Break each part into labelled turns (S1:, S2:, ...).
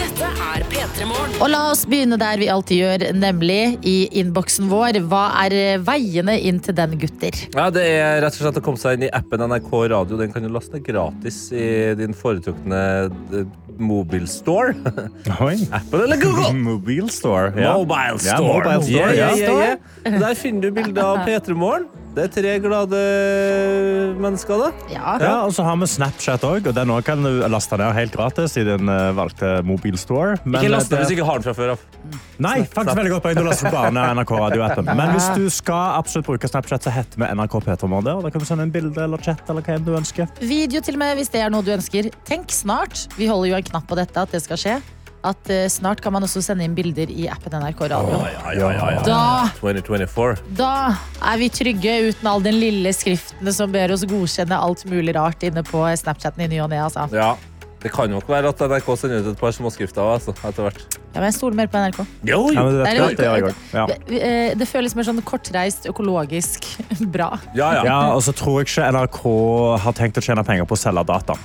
S1: Dette er P3 Morgen.
S2: Og la oss begynne der vi alltid gjør, nemlig i innboksen vår. Hva er veiene inn til den, gutter?
S3: Ja, det er rett og slett å komme seg inn i appen NRK Radio. Den kan du laste ned gratis i din foretrukne eh, mobilstore.
S4: Oi.
S3: Apple eller Google?
S4: Mobile store. Ja.
S3: Mobile
S4: Ja,
S3: store.
S4: mobile store,
S3: Ja, ja,
S4: ja.
S3: ja, ja. Der finner du bilder av P3 Morgen. Det er tre glade mennesker, da.
S2: Ja.
S4: Ja, og så har vi Snapchat òg, og den også kan du laste ned helt gratis i den eh, valgte Mobil Store. Men,
S3: Ikke last ned
S4: eh, det-
S3: hvis du ikke har den fra før av.
S4: Nei, faktisk veldig godt poeng. Du laster bare ned NRK radioappen. Men hvis du skal absolutt bruke Snapchat, så heter vi NRK P3morgen der. og Da kan du sende en bilde eller chat eller hva enn du ønsker.
S2: Video til og med, hvis det er noe du ønsker. Tenk snart. Vi holder jo en knapp på dette, at det skal skje. At eh, snart kan man også sende inn bilder i appen NRK Radio.
S3: Ja, ja, ja, ja.
S2: Da,
S3: 2024.
S2: da er vi trygge uten all den lille skriften som ber oss godkjenne alt mulig rart inne på Snapchaten i ny og ne, altså.
S3: Ja. Det kan nok være at NRK sender ut et par småskrifter også, altså, etter hvert.
S2: Ja, men jeg stoler mer på NRK.
S3: Jo,
S4: Ja, men du vet
S2: Nei,
S4: godt, det gjør jeg
S2: det-
S4: også. Ja.
S2: Det, eh, det føles mer sånn kortreist, økologisk bra.
S3: Ja, ja.
S4: Ja, og så tror jeg ikke NRK har tenkt å tjene penger på å selge data.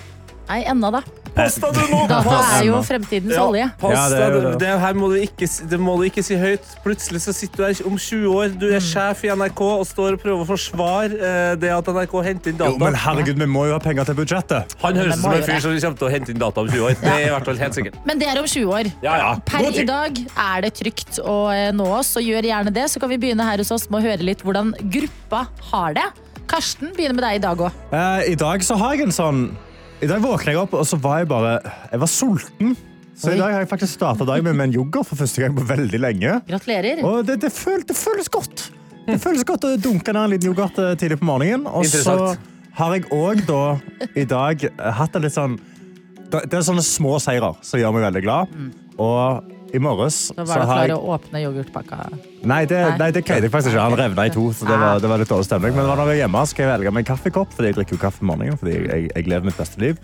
S2: Nei, ennå, da.
S3: Pasta du nå!
S2: Data
S3: Pass.
S2: er jo
S4: ennå.
S2: fremtidens
S3: Ja,
S2: olje.
S3: pass
S4: Ja, det er
S3: deg.
S4: jo
S3: det,
S4: det.
S3: det her må du, ikke, si- det må du ikke si høyt. Plutselig så sitter du her om 20 år, du er
S2: Mm.
S3: sjef i NRK og står og prøver å forsvare eh, det at NRK henter inn
S4: Jo, men
S3: data.
S4: herregud, vi må jo ha penger til budsjettet.
S3: Han høres
S2: Men
S3: ut som
S2: må jo
S3: en
S2: det.
S3: fyr som kommer til å hente inn data om 20 år. Det er i hvert fall helt sikkert.
S2: Men det er om 20 år.
S3: Ja, ja.
S2: Per
S3: God
S2: i
S3: tid.
S2: dag er det trygt å eh, nå oss, så gjør gjerne det. Så kan vi begynne her hos oss med å høre litt hvordan gruppa har det. Karsten, begynner med deg i dag òg.
S4: Eh, I dag så har jeg en sånn I dag våkna jeg opp, og så var jeg bare Jeg var sulten. Så
S2: Oi.
S4: i dag har jeg faktisk starta dagen min med en yoghurt for første gang på veldig lenge.
S2: Gratulerer.
S4: Og det, det, føl, det føles godt. Det føles godt å dunke ned en liten yoghurt eh, tidlig på morgenen. Og så
S3: Interessant.
S4: har jeg òg da i dag eh, hatt en litt sånn Det det er sånne små seirer som gjør meg veldig glad. Og i morges
S2: Mm. Da
S4: så
S2: var du
S4: har
S2: klar
S4: jeg
S2: å åpne yoghurtpakka.
S4: Nei, det,
S2: Nei.
S4: nei, det greide jeg faktisk ikke. Han revna i to. så det var, det var litt dårlig stemning. Men når jeg er hjemme, skal jeg velge meg en kaffekopp, fordi jeg drikker jo kaffe om morgenen. fordi jeg, jeg, jeg lever mitt beste liv.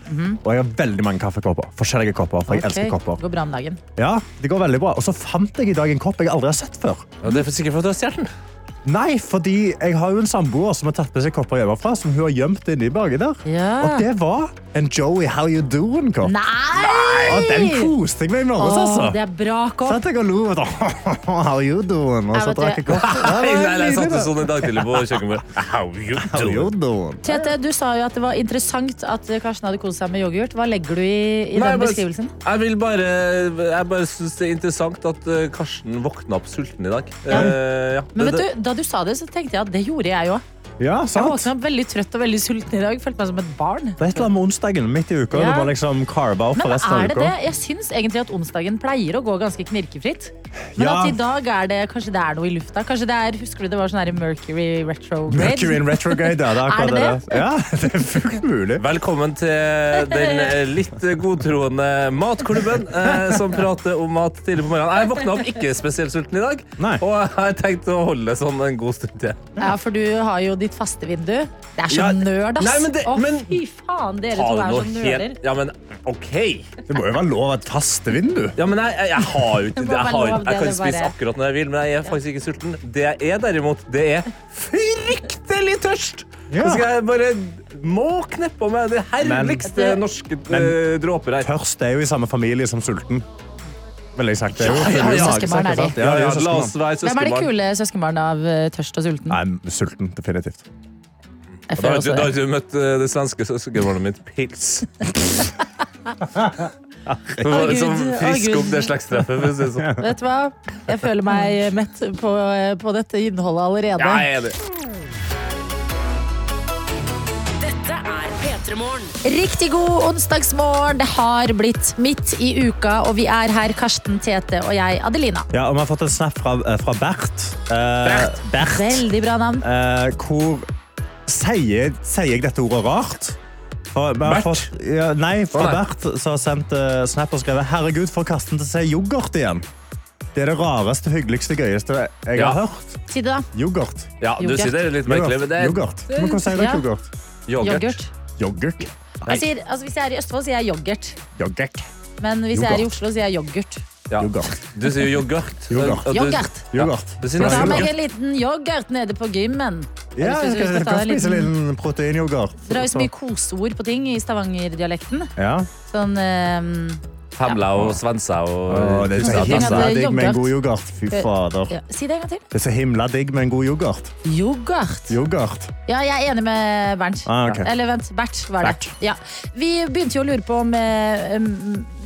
S4: Og jeg har veldig mange kaffekopper. Forskjellige kopper, for jeg
S2: Mhm. Ok,
S4: elsker kopper.
S2: Går bra om dagen.
S4: Ja, det går veldig bra. Og så fant jeg i dag en kopp jeg aldri har sett før.
S3: Ja, det er sikkert for at du har stjålet den.
S4: Nei, fordi jeg har jo en samboer som har tatt med seg kopper hjemmefra, som hun har gjemt inni bagen der.
S2: Ja.
S4: Og det var en Joey How You Doing-kopp.
S2: Nei!
S4: Og den koste jeg meg i morges,
S2: Å,
S4: altså.
S2: det er bra kopp.
S4: Satt jeg og lo og da, How you doing? Og
S2: Jeg
S4: så
S2: vet
S4: drakk jeg
S2: det.
S4: kopp. Ja, det
S3: Nei,
S4: var
S3: nei, nei, jeg satt
S4: nydelig,
S3: det
S4: det.
S3: sånn en dag tidlig på kjøkkenbordet. How you
S4: How you
S3: doing?
S4: doing?
S2: Tete, du sa jo at det var interessant at Karsten hadde kost seg med yoghurt. Hva legger du i, i
S3: Nei,
S2: den
S3: men-
S2: beskrivelsen?
S3: Jeg vil bare Jeg bare syns det er interessant at eh, Karsten våkna opp sulten i dag. Eh, ja.
S2: Men
S3: Det-
S2: vet du, Da du sa det, så tenkte jeg at det gjorde jeg òg.
S4: Ja,
S2: Jeg
S4: sant.
S2: våkna opp veldig trøtt og veldig sulten i dag. Følte meg som et barn.
S4: Det er et eller annet med onsdagen midt i uka.
S2: Ja.
S4: Du må liksom carve out
S2: Nei,
S4: for
S2: men
S4: resten av
S2: er det
S4: uka.
S2: det? Jeg syns egentlig at onsdagen pleier å gå ganske knirkefritt. Men
S4: Ja.
S2: at i dag er det kanskje det er noe i lufta. Kanskje det er, Husker du det var sånn her Mercury retrograde?
S4: Mercury in retrograde, ja. Det er,
S2: Er
S4: akkurat
S2: det
S4: det? Ja, det er fullt mulig.
S3: Velkommen til den eh, litt godtroende matklubben eh, som prater om mat tidlig på morgenen. Jeg våkna opp ikke spesielt sulten i dag,
S4: Nei.
S3: og jeg har tenkt å holde det sånn en god stund til.
S2: Ja, for du har jo ditt faste vindu. Det er så
S3: Ja,
S2: nerd, ass!
S3: nei, men det-
S2: Å,
S3: men-
S2: fy faen, dere
S3: Ta
S2: to
S3: det
S2: er
S3: nå
S2: så nerder.
S3: helt Ja, men OK.
S4: Det må jo være lov å ha et faste vindu.
S3: Ja, men jeg, jeg, jeg har jo ikke
S2: Det må
S3: det. Jeg,
S2: være
S3: har,
S2: lov, det
S3: jeg kan
S2: er bare-
S3: spise akkurat når jeg vil, men jeg er faktisk ikke sulten. Det jeg er derimot, det er fryktelig tørst!
S4: Ja.
S3: Så skal jeg bare må kneppe på meg det herligste
S2: Men-
S3: norske eh,
S4: Men-
S3: dråper her.
S4: Tørst er jo i samme familie som sulten. Vel, jeg sagt det. er jo-
S3: Ja, ja,
S4: det er jo
S3: ja.
S4: magesekk,
S2: Søskenbarn er de.
S4: sant?
S3: Ja,
S4: Ja, det er
S3: ja,
S4: jo
S3: la oss
S4: søskenbarn.
S2: Hvem
S3: være
S2: er det
S3: søskenbarn.
S2: kule søskenbarnet av eh, Tørst og sulten?
S4: Nei, sulten, definitivt.
S2: Jeg
S3: Da
S2: føler
S3: har du,
S2: også
S3: da har
S2: det.
S3: du møtt eh, det svenske søskenbarnet mitt, Pils. Som,
S2: Å, Gud.
S3: som
S2: Å,
S3: frisk
S2: Gud.
S3: opp det slektstreffet. for å si det sånn.
S2: Vet du hva? Jeg føler meg eh, mett på, eh, på dette innholdet allerede.
S3: Ja, jeg er det.
S1: Dette er P3 Morgen.
S2: Riktig god onsdagsmorgen. Det har blitt midt i uka, og vi er her, Karsten, Tete og jeg, Adelina.
S4: Ja, og vi har fått en snap fra, eh, fra Bert. Eh,
S3: Bert.
S4: Bert.
S2: Veldig bra navn.
S4: Eh, hvor sier, sier jeg dette ordet rart? For, vi har
S3: Bert?
S4: Fått, ja, nei, fra
S3: Å, nei.
S4: Bert som har sendt eh, snap og skrevet Herregud, får Karsten til å si yoghurt igjen. Det er det rareste, hyggeligste, gøyeste jeg
S3: Ja.
S4: har hørt.
S2: Si det, da.
S4: Yoghurt.
S3: Ja, du
S2: Yoghurt.
S3: sier det er litt merkelig, men det er
S4: yoghurt. Men hvordan sier
S2: Ja.
S4: dere yoghurt?
S2: Yoghurt.
S4: Yoghurt.
S2: Jeg sier, altså, hvis jeg er i Østfold, sier jeg yoghurt.
S4: Yoghurt.
S2: Men hvis jeg er i
S4: Yoghurt.
S2: Oslo, sier jeg yoghurt.
S3: Ja.
S4: Yoghurt.
S3: Du sier jo yoghurt.
S4: Yoghurt.
S3: Og du-
S2: Yoghurt.
S4: Yoghurt.
S3: Du sier
S2: Ta
S3: nesten
S2: meg
S3: yoghurt.
S2: en liten yoghurt nede på gymmen.
S4: Ja,
S2: Hvis du skal
S4: jeg
S2: ta
S4: skal kan
S2: deg en
S4: spise en
S2: liten-
S4: liten proteinyoghurt.
S2: Dere har jo så mye koseord på ting i stavangerdialekten.
S4: Ja.
S2: Sånn eh,
S3: Femla og svensa og
S4: Å, det er så
S3: Tussa,
S2: Tenk at
S4: himla
S3: tassa.
S2: det er
S4: digg med en
S2: yoghurt.
S4: god yoghurt. Fy fader.
S2: ja, Si det en gang til.
S4: Det er så himla digg med en god yoghurt.
S2: Yoghert.
S4: Yoghurt.
S2: Ja, jeg er enig med Bernt.
S4: Ah, ok.
S2: Eller vent, Bert var det.
S4: Bert.
S2: Ja. Vi begynte jo å lure på om eh, um,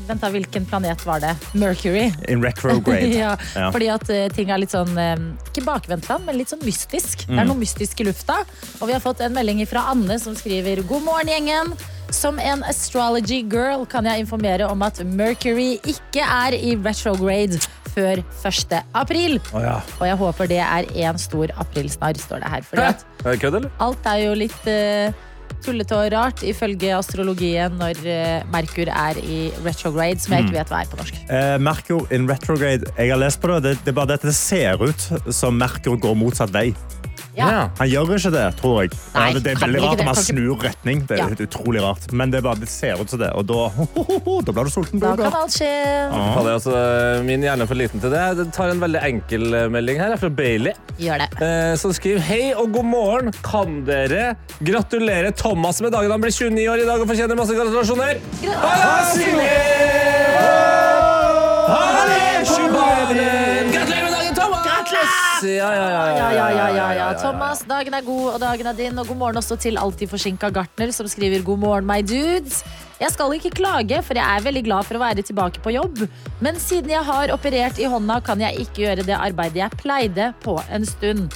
S2: Vent da, hvilken planet var det? Mercury.
S4: In retrograde.
S2: ja,
S4: Ja.
S2: Fordi at eh, ting er litt sånn eh, Ikke bakvendtland, men litt sånn mystisk. Det er noe mystisk i lufta. Og vi har fått en melding fra Anne som skriver God morgen, gjengen. Som en astrology girl kan jeg informere om at Mercury ikke er i retrograde før 1. april.
S3: Å, ja.
S2: Og jeg håper det er én stor aprilsnarr, står det her. Fordi at
S3: Er det kødd, eller?
S2: Alt er jo litt eh, tullete og rart ifølge astrologien når eh, Merkur er i retrograde, som jeg ikke vet hva er på norsk.
S4: Eh, Merkur in retrograde. Jeg har lest på det. Det, det er bare det at det ser ut som Merkur går motsatt vei.
S2: Ja.
S4: Han gjør ikke det, tror jeg.
S2: Nei,
S4: det, det er
S2: han
S4: veldig
S2: gjør ikke
S4: rart
S2: det.
S4: om han
S2: Kan ikke-
S4: snur retning. Det er
S2: Ja.
S4: utrolig rart. Men det, er bare, det ser ut som det, og da, da blir du sulten. på
S2: Da
S4: yoghurt.
S2: kan alt skje.
S3: Fader, altså, min hjerne er for liten til det. Jeg tar en veldig enkel eh, melding her, er fra Bailey.
S2: Gjør det.
S3: eh, Som skriver Hei og god morgen. Kan dere gratulere Thomas med dagen han blir 29 år i dag og fortjener masse gratulasjoner? Halla, Silje! Halla, Sjubanen! Gratulerer med dagen, Thomas! Ja, ja, ja.
S2: Ja,
S3: ja,
S2: ja, ja, ja, ja. Thomas, dagen er god, og dagen er din. Og god morgen også til alltid forsinka gartner, som skriver god morgen, my dudes. Jeg skal ikke klage, for jeg er veldig glad for å være tilbake på jobb. Men siden jeg har operert i hånda, kan jeg ikke gjøre det arbeidet jeg pleide på en stund.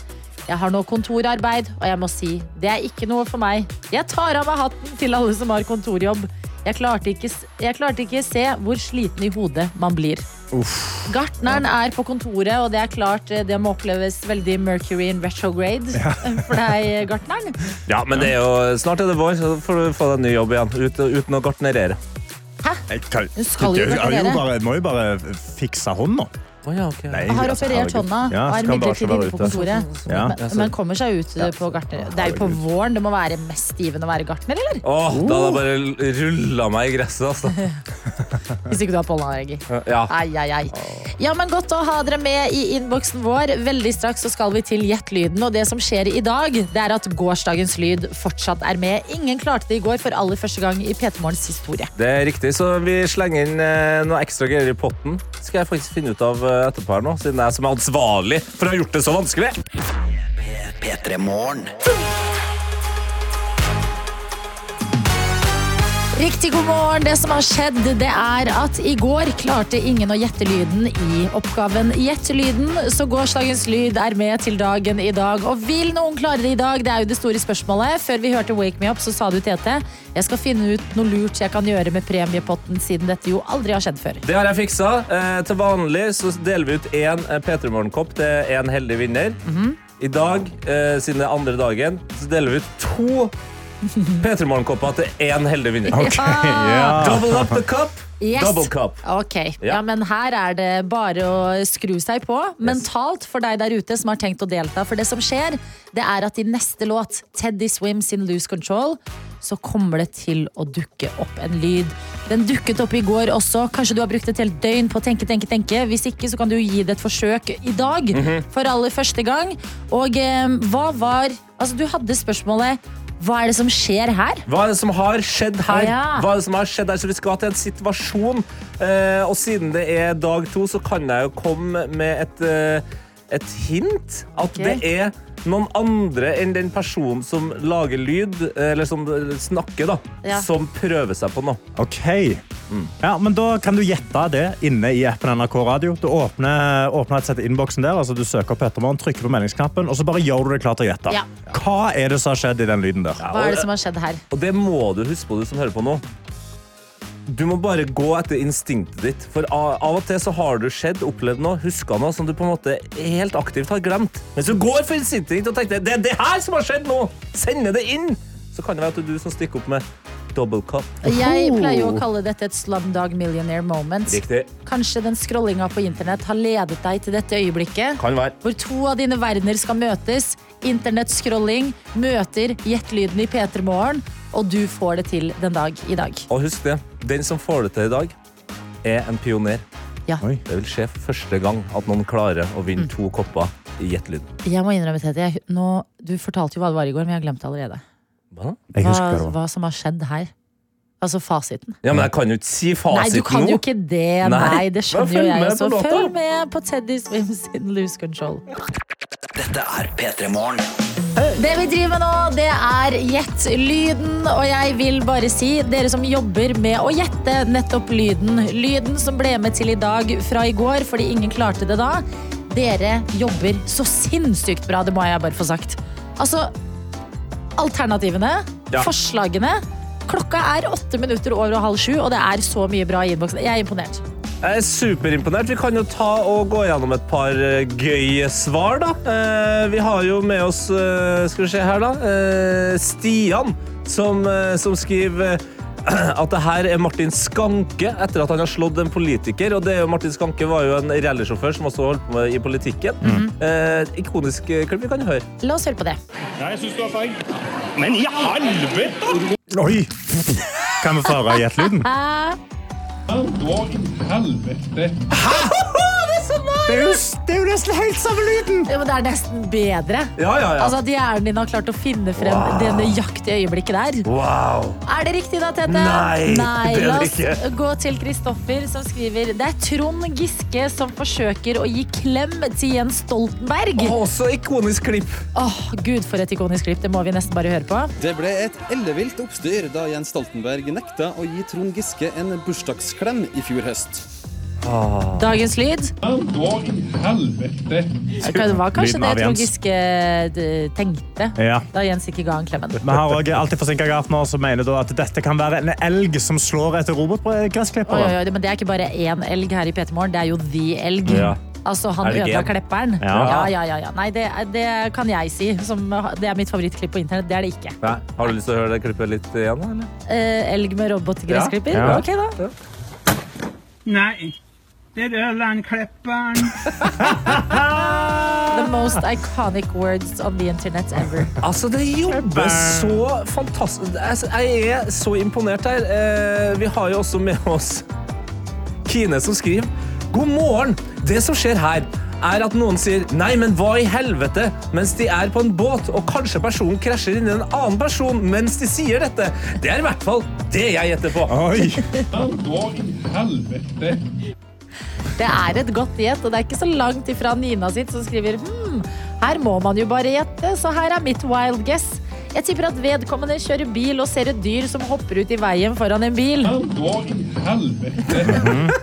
S2: Jeg har nå kontorarbeid, og jeg må si det er ikke noe for meg. Jeg tar av meg hatten til alle som har kontorjobb. Jeg klarte ikke, s- jeg klarte ikke se hvor sliten i hodet man blir. Gartneren er på kontoret, og det er klart eh, det må oppleves veldig Mercury in retrograde for deg, gartneren.
S3: Ja, men det er jo, snart er det vår, så får du få deg en ny jobb igjen. Ut, uten å gartnerere.
S4: Jeg kan-
S2: Hun skal jo
S4: Jeg har
S2: operere.
S4: bare- jeg må jo bare fikse hånda.
S3: Oh, ja, ok.
S4: Nei,
S2: Jeg har
S4: altså,
S2: operert
S4: herregud.
S2: hånda
S4: Ja,
S2: og
S4: så
S2: er
S4: kan bare ikke
S2: midlertidig
S4: være
S2: inne på
S4: ute.
S2: kontoret.
S4: Ja.
S2: Men, men kommer seg ut eh, på gartner. Det er jo på
S4: Herregud.
S2: våren. Det må være mest givende å være gartner, eller?
S3: Åh, da hadde jeg bare rulla meg i gresset, altså.
S2: Hvis ikke du har pollenallergi.
S3: Ja.
S2: Ai, ai, ai. Ja, men Godt å ha dere med i innboksen vår. Veldig straks så skal vi til Gjett lyden. Og det som skjer i dag, det er at gårsdagens lyd fortsatt er med. Ingen klarte det i går for aller første gang i P3 Morgens historie.
S3: Det er riktig, så vi slenger inn eh, noe ekstra greier i potten. Det skal jeg faktisk finne ut av eh, etterpå her nå, siden jeg som er ansvarlig for å ha gjort det så vanskelig.
S5: P3 Morgen.
S2: Riktig god morgen. Det som har skjedd, det er at i går klarte ingen å gjette lyden i oppgaven Gjett lyden, så gårsdagens lyd er med til dagen i dag. Og vil noen klare det i dag? Det er jo det store spørsmålet. Før vi hørte Wake Me Up, så sa du, Tete, jeg skal finne ut noe lurt jeg kan gjøre med premiepotten, siden dette jo aldri har skjedd før.
S3: Det har jeg fiksa. Eh, til vanlig så deler vi ut én eh, P3 Morgen-kopp til én heldig vinner. I dag, eh, siden det er andre dagen, så deler vi ut to P3 Morgen-kopper til én heldig vinner.
S4: Ok, ja.
S3: Double up the cup.
S2: Yes.
S3: Double cup.
S2: Ok, ja. men Her er det bare å skru seg på mentalt for deg der ute som har tenkt å delta. For det som skjer, det er at i neste låt, Teddy Swim sin Lose Control, så kommer det til å dukke opp en lyd. Den dukket opp i går også. Kanskje du har brukt et helt døgn på å tenke, tenke, tenke. Hvis ikke, så kan du gi det et forsøk i dag for aller første gang. Og eh, hva var Altså, du hadde spørsmålet Hva er det som skjer her?
S3: Hva er det som har skjedd her?
S2: Ah, Ja.
S3: Hva er det som har skjedd her? Så Vi skal til en situasjon. Eh, og siden det er dag to, så kan jeg jo komme med et, eh, et hint. At
S2: Ok.
S3: det er noen andre enn den personen som lager lyd, eh, eller som snakker, da,
S2: Ja.
S3: som prøver seg på noe.
S4: Ok. Ja, men da kan du gjette det inne i appen NRK Radio. Du åpner, åpner et sett innboksen der, altså du søker på ettermorgen, trykker på meldingsknappen, og så bare gjør du det klart å gjette.
S2: Ja.
S4: Hva er det som har skjedd i den lyden der?
S2: Hva er det som har skjedd her?
S3: Og det må du huske på, du som hører på nå. Du må bare gå etter instinktet ditt. For a- av og til så har du sett, opplevd noe, huska noe som du på en måte helt aktivt har glemt. Men så går for instinktet ditt og tenker det er det her som har skjedd nå! Sende det inn! Så kan det være at det er du som stikker opp med double cup.
S2: Jeg pleier jo å kalle dette et slumdog millionaire moment.
S3: Riktig.
S2: Kanskje den scrollinga på internett har ledet deg til dette øyeblikket,
S3: Kan være.
S2: hvor to av dine verdener skal møtes. Internettscrolling møter gjettlyden i P3 Morgen, og du får det til den dag i dag.
S3: Og husk det, den som får det til i dag, er en pioner.
S2: Ja. Mm.
S4: Oi.
S3: Det vil skje for første gang at noen klarer å vinne to kopper i gjettelyd.
S2: Jeg må innrømme, Tete, jeg, nå, du fortalte jo hva det var i går, men jeg har glemt det allerede.
S3: Hva da?
S4: Jeg
S2: Hva,
S4: husker hva det var.
S2: hva som har skjedd her. Altså fasiten.
S3: Ja, men jeg kan jo ikke si
S2: Nei, du
S3: fasiten
S2: kan
S3: nå.
S2: jo ikke det. Nei,
S3: Nei.
S2: det skjønner
S3: Men
S2: jo
S3: følg
S2: jeg
S3: med
S2: også.
S3: på låta.
S2: Følg med på Teddy Swim sin Lose Control.
S5: Dette er P3 Morgen.
S2: Det vi driver med nå, det er Gjett lyden. Og jeg vil bare si, dere som jobber med å gjette nettopp lyden, lyden som ble med til i dag fra i går fordi ingen klarte det da, dere jobber så sinnssykt bra, det må jeg bare få sagt. Altså, alternativene,
S3: Ja.
S2: forslagene. Klokka er åtte minutter over og halv sju, og det er så mye bra i innboksen. Jeg er imponert.
S3: Jeg er superimponert. Vi kan jo ta og gå gjennom et par eh, gøye svar, da. Eh, Vi har jo med oss eh, Skal vi se her, da. eh, Stian, som, eh, som skriver eh, at det her er Martin Skanke etter at han har slått en politiker. Og det er jo Martin Skanke var jo en rallysjåfør som også holdt på med i politikken.
S4: Mhm.
S3: Eh, ikonisk eh, klipp vi kan høre.
S2: La oss høre på det.
S6: Nei, jeg syns du har feil. Men i helvete!
S4: Oi! Kan vi få høre gjettelyden?
S6: Dog helvete.
S4: Det er jo det er jo nesten helt samme lyden!
S2: Ja, men det er nesten bedre.
S3: Ja, ja, ja.
S2: Altså At hjernen din har klart å finne frem det nøyaktige øyeblikket der.
S3: Wow!
S2: Er det riktig da, Tete?
S3: Nei,
S2: Nei
S3: det er det
S2: la oss
S3: ikke.
S2: gå til Kristoffer som skriver Det er Trond Giske som forsøker å gi klem til Jens Stoltenberg. Åh,
S3: Også ikonisk klipp.
S2: Gud, for et ikonisk klipp. Det må vi nesten bare høre på.
S7: Det ble et ellevilt oppstyr da Jens Stoltenberg nekta å gi Trond Giske en bursdagsklem i fjor høst.
S2: Dagens lyd.
S6: Dog helvete.
S2: Det var kanskje
S4: Lyden
S2: det
S4: av
S2: Trond
S4: Jens.
S2: Giske eh, tenkte
S4: Ja.
S2: da Jens ikke ga han klemmen.
S4: Vi har også alltid forsinka Gartner, som mener da at dette kan være en elg som slår etter
S2: Oi, oi,
S4: robotgressklippere.
S2: oi, men det er ikke bare én elg her i P3 Morgen, det er jo the elg.
S3: Ja.
S2: Altså, han
S3: Er det ikke
S2: ødela
S3: en?
S2: klepperen. Ja.
S4: Ja.
S2: Ja, ja, ja, Nei, det, er- det kan jeg si. Som, det er mitt favorittklipp på internett. Det er det ikke.
S3: Nei. Har du lyst til å høre det klippet litt igjen? Eller?
S2: Eh, elg med robotgressklipper?
S4: Ja. Ja.
S2: Ok, da.
S8: Nei, det er Ørlandklipperen.
S2: The most iconic words on the internet ever.
S3: Altså, det jobbes så fantastisk. Altså, Jeg er så imponert her. Eh, Vi har jo også med oss Kine som skriver God morgen! Det som skjer her, er at noen sier 'nei, men hva i helvete' mens de er på en båt, og kanskje personen krasjer inn i en annen person mens de sier dette. Det er i hvert fall det jeg gjetter på.
S4: Oi.
S6: Dog helvete.
S2: Det er et godt gjett, og det er ikke så langt ifra Nina sitt som skriver «Hm, her må man jo bare gjette, så her er mitt wild guess. Jeg tipper at vedkommende kjører bil og ser et dyr som hopper ut i veien foran en bil.
S6: Dog helvete.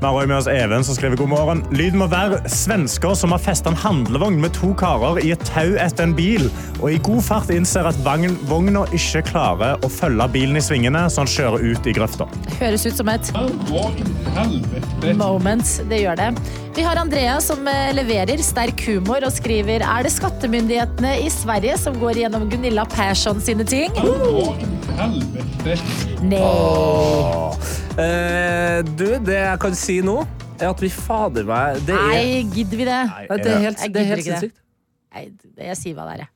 S4: Vi har også med oss Even som skriver god morgen. Lyden må være svensker som har festa en handlevogn med to karer i et tau etter en bil, og i god fart innser at vagn- vogna ikke klarer å følge bilen i svingene, så han kjører ut i grøfta.
S2: Høres ut som et
S6: Dog helvete.
S2: moment. Det gjør det. Vi har Andrea som eh, leverer sterk humor og skriver Er det skattemyndighetene i Sverige som går gjennom Gunilla Persson sine ting?
S6: Dog helvete.
S2: Nei.
S3: Eh, Du, det jeg kan si nå, er at vi fader meg Det er,
S2: Nei, gidder vi det?
S3: Nei, det er helt,
S2: Jeg
S3: det
S2: gidder
S3: er helt
S2: ikke det.
S3: sinnssykt.
S2: Nei, det- jeg sier hva det er. jeg.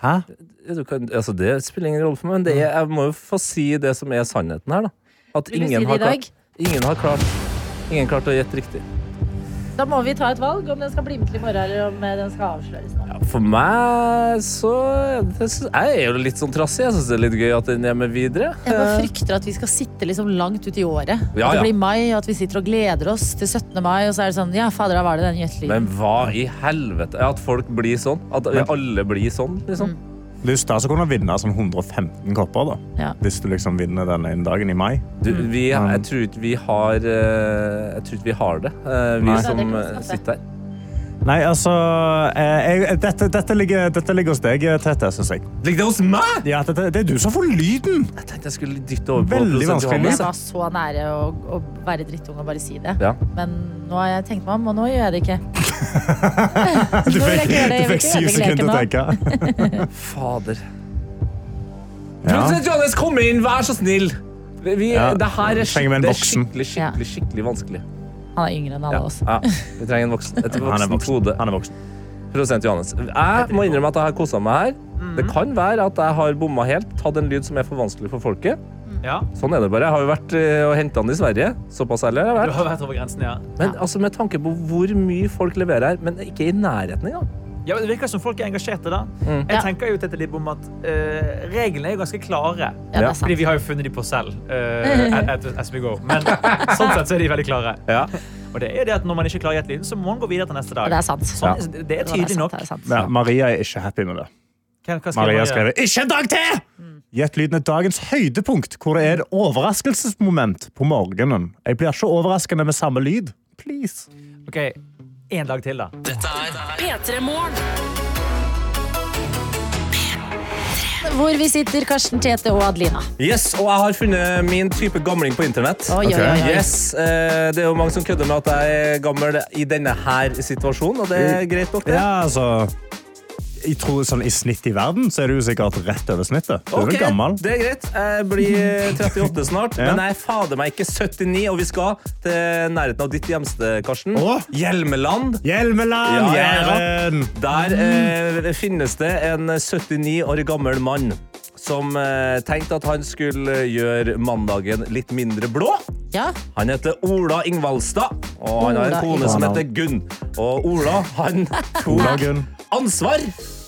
S4: Hæ?
S3: du kan, altså det spiller ingen rolle for meg, men det er, jeg må jo få si det som er sannheten her. da. At
S2: Vil du
S3: ingen,
S2: si det i
S3: har
S2: dag?
S3: klart, ingen har klart Ingen klarte å gjette riktig.
S2: Da må vi ta et valg om den skal bli med til i morgen, eller om eh, den skal avsløres nå.
S3: For meg så det, syns- Jeg er jo litt sånn trassig. Jeg syns det er litt gøy at den er med videre.
S2: Jeg bare frykter at vi skal sitte liksom langt ut i året.
S3: Ja,
S2: at det
S3: ja.
S2: blir mai, og at vi sitter og gleder oss til 17. mai, og så er det sånn Ja, fader, da var det den gjødslinga.
S3: Men hva i helvete? At folk blir sånn? At vi
S4: Men-
S3: alle blir sånn, liksom?
S2: Mm.
S4: Lyst til altså å kunne vinne sånn 115 kopper, da.
S2: Ja.
S4: Hvis du liksom vinner den ene dagen i mai.
S3: Du,
S2: Mm.
S3: vi,
S4: Mm.
S3: jeg tror ikke vi har eh, Jeg tror ikke vi har det, eh, vi
S2: Ja,
S4: Nei.
S2: det
S3: som
S2: kan vi
S3: eh,
S2: skaffe.
S3: sitter her.
S4: Nei, altså eh, jeg, dette, dette, ligger, dette ligger hos deg, eh, Tete, syns jeg.
S3: Ligger det hos meg?!
S4: Ja, dette, det er du som får lyden!
S3: Jeg tenkte jeg skulle dytte over på
S4: Veldig
S3: produsent
S4: vanskelig.
S3: Johannes.
S2: Jeg var så nære å, å være drittung og bare si det.
S3: Ja.
S2: Men nå har jeg tenkt meg om, og nå gjør jeg det ikke.
S4: Du
S2: Nå vil jeg
S4: fikk,
S2: ikke gjøre det.
S4: du
S2: Jeg vil
S4: fikk
S2: ikke
S4: syv
S2: ødelegge
S4: sekunder til å tenke.
S3: Fader.
S4: Ja.
S3: Produsent Johannes, kom inn, vær så snill! Vi, vi-
S4: Ja,
S3: Det her er,
S4: vi trenger med en
S3: skik- det er
S4: voksen.
S3: skikkelig, skikkelig, skikkelig vanskelig.
S2: Han er yngre enn alle
S3: Ja.
S2: oss.
S3: Ja, vi trenger en voksen. Et
S4: Han er
S3: voksent
S4: voksen.
S3: hode.
S4: Han er voksen.
S3: Produsent Johannes. Jeg må innrømme at jeg har kosa meg her. Det kan være at jeg har bomma helt, tatt en lyd som er for vanskelig for folket.
S9: Ja,
S3: Sånn er det bare. Jeg har jo vært eh, og henta den i Sverige. Såpass ærlig har
S9: du
S3: jeg vært.
S9: har vært over grensen, ja.
S3: Men altså, med tanke på hvor mye folk leverer her, men ikke i nærheten engang.
S9: ja men det virker som folk er engasjerte da. Jeg
S2: Ja.
S9: tenker jo til dette litt om at eh, reglene er jo ganske klare.
S2: Ja, det
S3: Ja.
S2: er
S9: Fordi
S2: sant.
S9: vi har jo funnet de på selv eh, as, as we go. Men sånn sett så er de veldig klare. Og det er jo det at når man ikke klarer gjettelyden, så må man gå videre til neste dag.
S2: Det er sant.
S9: Sånn, Det er
S2: Ja, det er
S9: tydelig
S2: sant,
S9: nok.
S2: det er sant.
S4: Ja, Maria er ikke happy med det.
S9: Hva, hva skal
S4: Maria
S9: Maria
S4: skrev ikke en dag til! Gjett lyden er dagens høydepunkt, hvor det er et overraskelsesmoment på morgenen. Jeg blir ikke overraskende med samme lyd. Please.
S9: Ok, en dag til da.
S1: P3-morgen.
S2: Hvor vi sitter, Karsten Tete og Adelina.
S3: Yes, og jeg har funnet min type gamling på internett.
S2: Oi, oi, oi, oi.
S3: Yes, eh, det er jo mange som kødder med at jeg er gammel i denne her situasjonen, og det er greit nok, det.
S4: Ja, altså... Jeg tror sånn i snitt i verden, så er du jo sikkert rett over snittet. Du er
S3: Ok,
S4: vel gammel?
S3: Det er greit. Jeg blir 38 snart,
S4: Ja.
S3: men jeg er fader meg ikke 79, og vi skal til nærheten av ditt hjemsted, Karsten.
S4: Å?
S3: Hjelmeland. Ja,
S4: Hjelmeland!
S3: ja,
S4: Jæren!
S3: Der
S4: Mm.
S3: eh, finnes det en 79 år gammel mann som eh, tenkte at han skulle eh, gjøre mandagen litt mindre blå.
S2: Ja,
S3: Han heter Ola Ingvaldstad, og han har en
S2: Ola
S3: kone som
S4: Ingvaldstad.
S3: heter Gunn. Og Ola, han
S4: Ola
S3: tok
S4: Gunn.
S3: ansvar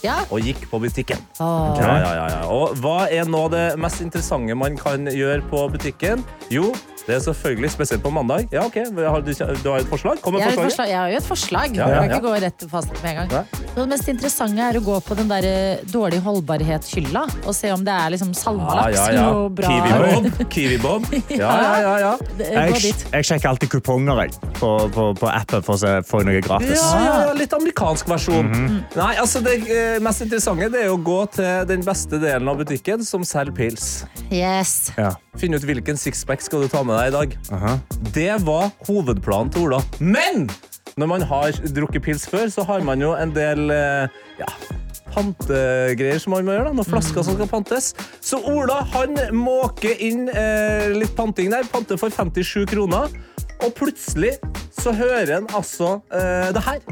S2: ja.
S3: og gikk på butikken.
S2: Åh.
S3: Ja, ja, ja, ja. Og hva er nå det mest interessante man kan gjøre på butikken? Jo, det er selvfølgelig spesielt på mandag. Ja, ok, har du, du har et forslag? Kom med
S2: Jeg har, et
S3: forslaget.
S2: forslag, jeg har jo et forslag.
S3: Ja, ja,
S2: Jeg kan
S3: ja.
S2: ikke gå rett til fasit med en gang.
S3: Nei.
S2: Det mest interessante er å gå på den der eh, dårlig holdbarhetshylla og se om det er liksom
S3: Ah,
S2: salmalaks. noe bra.
S3: Kiwi-bob. Kiwi-bob. Ja, ja, ja, ja.
S2: Eh, Gå
S4: Jeg,
S2: dit.
S4: jeg sjekker alltid kuponger jeg, på, på, på appen for å se, få noe
S3: Ja,
S4: gratis.
S3: ja, ja, litt amerikansk versjon. Nei, altså Det eh, mest interessante det er jo å gå til den beste delen av butikken som selger pils.
S2: Yes.
S4: Ja.
S3: Finne ut hvilken sixpack skal du ta med deg i dag. Det var hovedplanen til Ola. Men når man har drukket pils før, så har man jo en del eh, ja, pantegreier som man må gjøre. da, Noen flasker som skal pantes. Så Ola han måker inn eh, litt panting der. Panter for 57 kroner. Og plutselig så hører han altså eh, det her.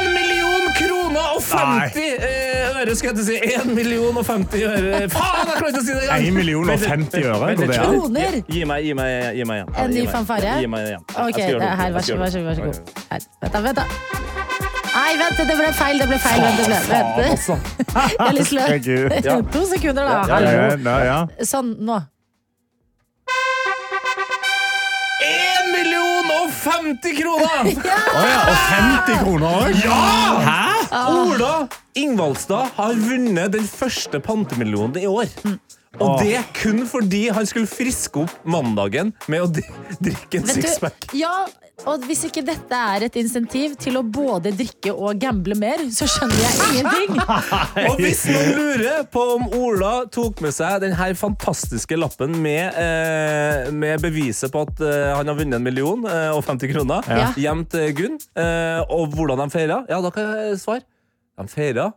S3: 1 million kroner og 50 eh, øre, skal jeg til å si. 1 million og 50 øre. Faen, jeg klarer ikke å si det engang!
S4: 1 million og
S3: Vent litt,
S4: 50
S3: vent litt,
S4: øre, går
S3: vent
S4: det
S3: litt.
S2: Kroner?
S3: Gi- Gi meg, gi meg, gi meg igjen. Ja,
S2: En
S3: gi
S2: ny
S3: meg-
S2: fanfare?
S3: Gi meg igjen.
S2: Ok,
S3: Jeg skal
S2: det
S3: gjøre
S2: er her,
S3: Jeg
S2: vær
S3: skal
S2: så god.
S3: gjøre
S2: Vær så god. Vær så
S3: det.
S2: god. Her. Vent, da. Vent, da. Nei, vent, det ble feil. Det ble feil. Vent, det ble,
S3: Faen,
S2: vent.
S3: altså.
S2: Jeg er litt
S4: Herregud.
S3: Ja.
S2: sløv. To sekunder, da.
S3: Ja, ja,
S4: Ja,
S2: Hallo.
S4: ja, ja.
S2: Sånn, nå.
S3: 1 million og 50 kroner!
S4: Å ja, og 50 kroner òg?
S2: Ah.
S3: Ja! Ola Ingvaldstad har vunnet den første pantemillionen i år. Og det kun fordi han skulle friske opp mandagen med å dri- drikke en
S2: Vet du-
S3: sixpack.
S2: Ja, og hvis ikke dette er et insentiv til å både drikke og gamble mer, så skjønner jeg ingenting.
S3: Og hvis noen lurer på om Ola tok med seg den her fantastiske lappen med, eh, med beviset på at eh, han har vunnet en million eh, og 50 kroner
S2: Ja.
S3: hjem til Gunn, eh, og hvordan de feira, ja, da kan jeg svare. De feira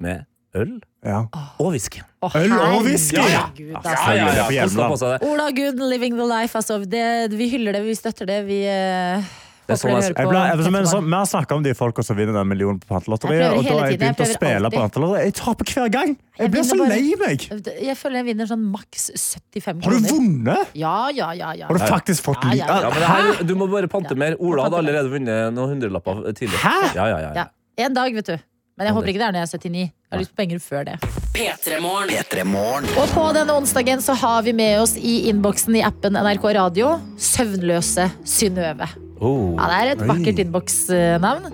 S3: med øl
S4: Ah,
S3: og whisky.
S2: Å,
S4: Øl og whisky.
S2: herregud, altså.
S4: ja, ja, på
S3: Kosta på seg det.
S2: Ola Gunn, living the life. Altså, det, vi hyller det, vi støtter det. Vi eh,
S3: Det er sånn
S2: håper
S3: jeg-
S2: dere
S4: Jeg ble, jeg,
S2: hører på.
S4: men, så, sånn- vi har snakka om de folka som vinner den millionen på Pantelotteriet.
S2: Jeg prøver
S4: Og da
S2: hele
S4: har jeg
S2: tiden, jeg
S4: begynt å
S2: prøver
S4: spille
S2: alltid.
S4: Pantelotteriet. Jeg taper hver gang!
S2: Jeg
S4: Jeg blir så
S2: vinner bare-
S4: lei meg!
S2: Jeg føler jeg vinner sånn maks 75
S4: Har du
S2: kroner.
S4: vunnet?
S2: Ja, ja, ja. ja.
S4: Har du faktisk fått
S2: Ja,
S4: lyd?
S2: ja, ja.
S3: Ja, men det her, du må bare pante mer. Ola
S2: Pante mer.
S3: hadde allerede vunnet noen hundrelapper tidligere.
S4: Hæ?
S3: Ja, ja, ja, ja.
S2: Ja. En dag, vet du. Men jeg håper ikke det er når jeg er 79. Jeg har lyst på penger før det.
S1: P3-morgen.
S5: P3-morgen.
S2: Og på denne onsdagen så har vi med oss i innboksen i appen NRK Radio søvnløse Synnøve.
S3: Oh.
S2: Ja, det er et vakkert innboksnavn.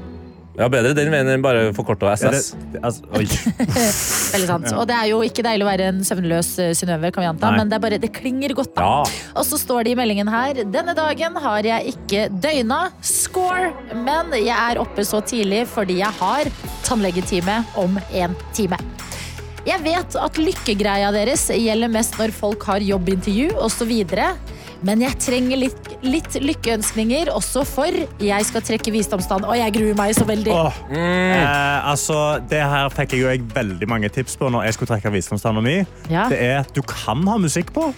S3: ja, bedre den veien enn bare forkorta
S4: Er
S3: SS.
S4: det- altså, oi.
S2: Veldig sant. Og det er jo ikke deilig å være en søvnløs eh, Synnøve, kan vi anta,
S4: Nei.
S2: men det, er bare, det klinger godt. da.
S3: Ja.
S2: Og så står det i meldingen her Denne dagen har jeg ikke døgna. Score! Men jeg er oppe så tidlig fordi jeg har tannlegetime om en time. Jeg vet at lykkegreia deres gjelder mest når folk har jobbintervju osv. Men jeg trenger litt, litt lykkeønskninger også for jeg skal trekke visdomstann. Og jeg gruer meg så veldig.
S4: Åh.
S2: Mm.
S4: Eh, altså, det her fikk jeg jo jeg veldig mange tips på når jeg skulle trekke visdomstanna mi.
S2: Ja. Mm.
S4: Det er at du kan ha musikk på.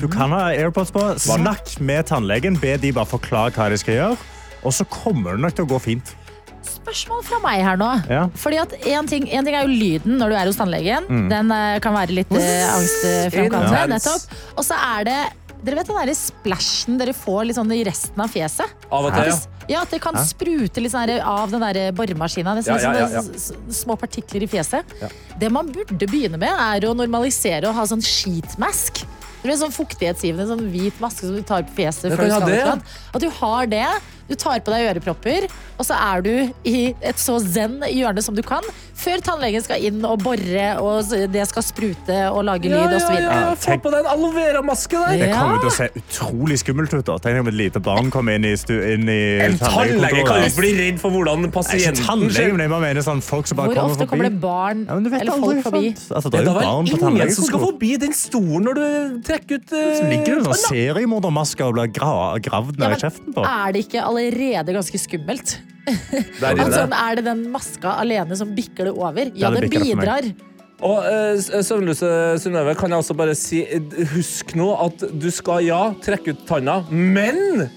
S4: Du kan ha AirPods på. Snakk med tannlegen. Be de bare forklare hva de skal gjøre. Og så kommer det nok til å gå fint.
S2: spørsmål fra meg her nå.
S4: Ja.
S2: Fordi at en ting, en ting er jo lyden når du er hos tannlegen. Den eh, kan være litt eh, angstfremkallende.
S3: Intense.
S2: Nettopp. Og så er det dere vet den der splashen dere får litt sånn i resten av fjeset?
S3: Av og til, ja.
S2: Ja, at det kan sprute litt sånn her av den der boremaskina. Det er
S3: Ja,
S2: sånne
S3: ja, ja, ja.
S2: s- s- små partikler i fjeset. Det man burde begynne med, er å normalisere og ha sånn sheetmask. Du vet, sånn fuktighetsgivende, sånn hvit maske som du tar på fjeset.
S3: Jeg
S2: før du
S3: kan ha
S2: skal
S3: det,
S2: ut
S3: ja.
S2: blant. At du har det, du tar på deg ørepropper, og så er du i et så zen hjørne som du kan, før tannlegen skal inn og bore, og s- det skal sprute og lage lyd og så videre.
S3: Få på deg en aloe vera-maske der.
S4: Det
S2: Ja.
S4: kommer til å se utrolig skummelt ut. da. Tenk om et lite barn kommer inn i, stu, inn i
S3: En tannlege kan jo
S4: tannlegekontoret.
S3: ikke bli redd for hvordan
S4: Nei, ikke
S3: pasienten
S4: tannlege, men jeg bare mener sånn folk som bare
S2: Hvor
S4: kommer
S2: ofte
S4: forbi.
S2: kommer det barn
S4: Ja, men du vet
S2: eller
S4: aldri,
S2: folk forbi?
S4: sant? Altså,
S3: Det
S4: det er jo
S3: var
S4: barn på
S3: ingen som skal
S4: tannlegekontoret.
S3: forbi den stolen når du trekker ut
S4: Så ligger det en sånn
S3: uh,
S4: seriemordermaske og blir gra gravd ned i kjeften på.
S2: er det ikke allerede ganske skummelt?
S3: der
S2: Altså,
S3: inne.
S2: er det den maska alene som bikker det over? Ja,
S4: Ja, det
S2: den
S4: bikker det for meg.
S2: bidrar.
S3: Og eh, s- søvnløse Synnøve, kan jeg også bare si eh, Husk nå at du skal, ja, trekke ut tanna, men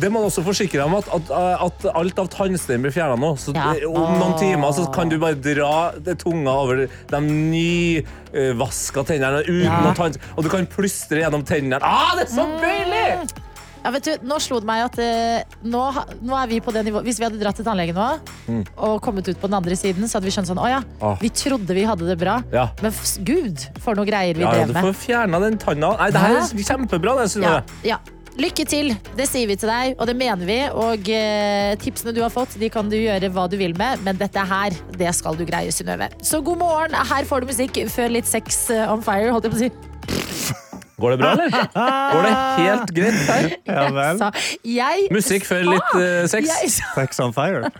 S3: det må du også forsikre deg om at, at, at alt av tannstein blir fjerna nå. Så
S2: Ja.
S3: eh, om noen timer så kan du bare dra det tunga over de nyvaska tennene uten
S2: Ja.
S3: å tann... Og du kan plystre gjennom tennene. Ah, det er så deilig!
S2: Ja, vet du, nå slo det meg at eh, nå, ha- nå er vi på det nivået Hvis vi hadde dratt til tannlegen nå og kommet ut på den andre siden, så hadde vi skjønt sånn Å ja,
S3: Ah.
S2: vi trodde vi hadde det bra,
S3: Ja.
S2: men f gud, for noe greier vi
S3: Ja, ja,
S2: drev
S3: du
S2: med.
S3: får fjerna den tanna. Nei, det her er kjempebra, det,
S2: Ja,
S3: Synnøve.
S2: ja. Lykke til. Det sier vi til deg, og det mener vi. Og eh, tipsene du har fått, de kan du gjøre hva du vil med, men dette her, det skal du greie, Synnøve. Så god morgen. Her får du musikk før litt sex eh, on fire, holdt jeg på å si.
S3: Går det bra, eller? Går det helt greit her?
S4: Ja vel.
S2: sa jeg
S3: Musikk før litt eh, sex.
S2: Ah, Jeg, sa-
S4: Sex on fire.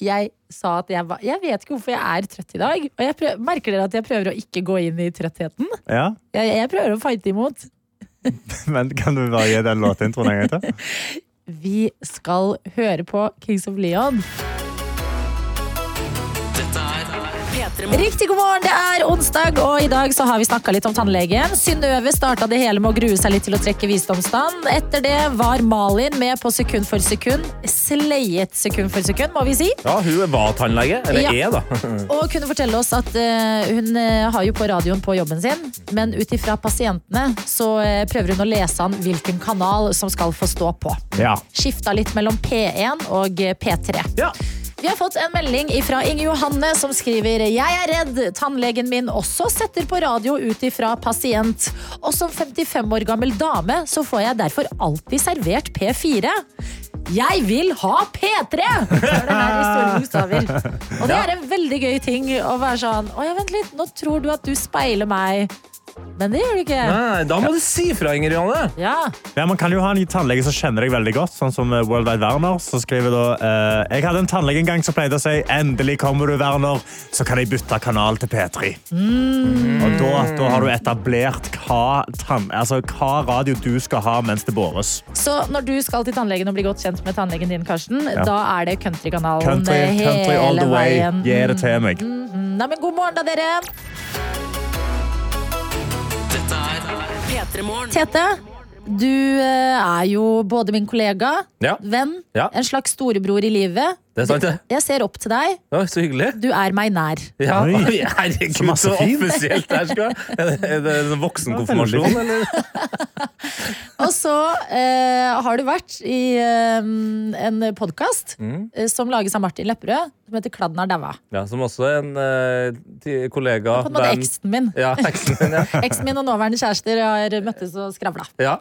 S2: jeg sa at jeg var Jeg vet ikke hvorfor jeg er trøtt i dag. Og jeg prøv, merker dere at jeg prøver å ikke gå inn i trøttheten?
S4: Ja,
S2: Jeg, jeg prøver å fighte imot.
S4: men Kan du bare gi den låtintroen en gang til?
S2: Vi skal høre på Kings of Leon. Riktig god morgen, det er onsdag, og i dag så har vi snakka litt om tannlegen. Synnøve starta det hele med å grue seg litt til å trekke visdomstann. Etter det var Malin med på sekund for sekund. Slayet sekund for sekund, må vi si.
S3: Ja, hun var tannlege. Eller
S2: Ja.
S3: er, da.
S2: Og kunne fortelle oss at eh, hun eh, har jo på radioen på jobben sin, men ut ifra pasientene så eh, prøver hun å lese an hvilken kanal som skal få stå på.
S4: Ja.
S2: Skifta litt mellom P1 og eh, P3.
S3: Ja.
S2: Vi har fått en melding fra Inge Johanne som skriver Jeg er redd tannlegen min også setter på radio ut ifra pasient. Og som 55 år gammel dame så får jeg derfor alltid servert P4. Jeg vil ha P3! Så er det her i store bokstaver. Og det er en veldig gøy ting å være sånn Å ja, vent litt, nå tror du at du speiler meg. Men det gjør du ikke.
S3: Nei, da må du si fra, Inger Johanne.
S2: Ja.
S4: Ja, man kan jo ha en tannlege som kjenner deg veldig godt, sånn som eh, World Wide Werner. som skriver da eh, Jeg hadde en tannlege en gang som pleide å si endelig kommer du, Werner, så kan jeg bytte kanal til P3. Og da, da har du etablert hva, tann, altså, hva radio du skal ha mens det bores.
S2: Så når du skal til tannlegen og bli godt kjent med tannlegen din, Karsten,
S4: Ja.
S2: da er det countrykanalen
S4: Country,
S2: hele
S4: country all the way.
S2: veien. Mm.
S4: Gi det til meg.
S2: Nei, men god morgen da, dere. Tete, du eh, er jo både min kollega,
S3: Ja.
S2: venn,
S3: Ja.
S2: en slags storebror i livet.
S3: Det er sant, det.
S2: Jeg ser opp til deg.
S3: Ja, så hyggelig.
S2: Du er meg nær.
S3: Ja.
S4: Oi.
S3: Oi, Herregud,
S4: Så masse
S3: så
S4: fin.
S3: offisielt det her skal være. Er det- Er det en voksenkonfirmasjon,
S4: Ja,
S3: eller?
S2: Og så eh, har du vært i eh, en podkast
S4: Mm.
S2: eh, som lages av Martin Lepperød, som heter Kladden har daua.
S3: Ja, som også er en eh, ti- kollega
S2: På en måte
S3: venn.
S2: eksen min.
S3: Ja, eksen min, ja.
S2: Eksen min og nåværende kjærester har møttes og skravla.
S3: ja.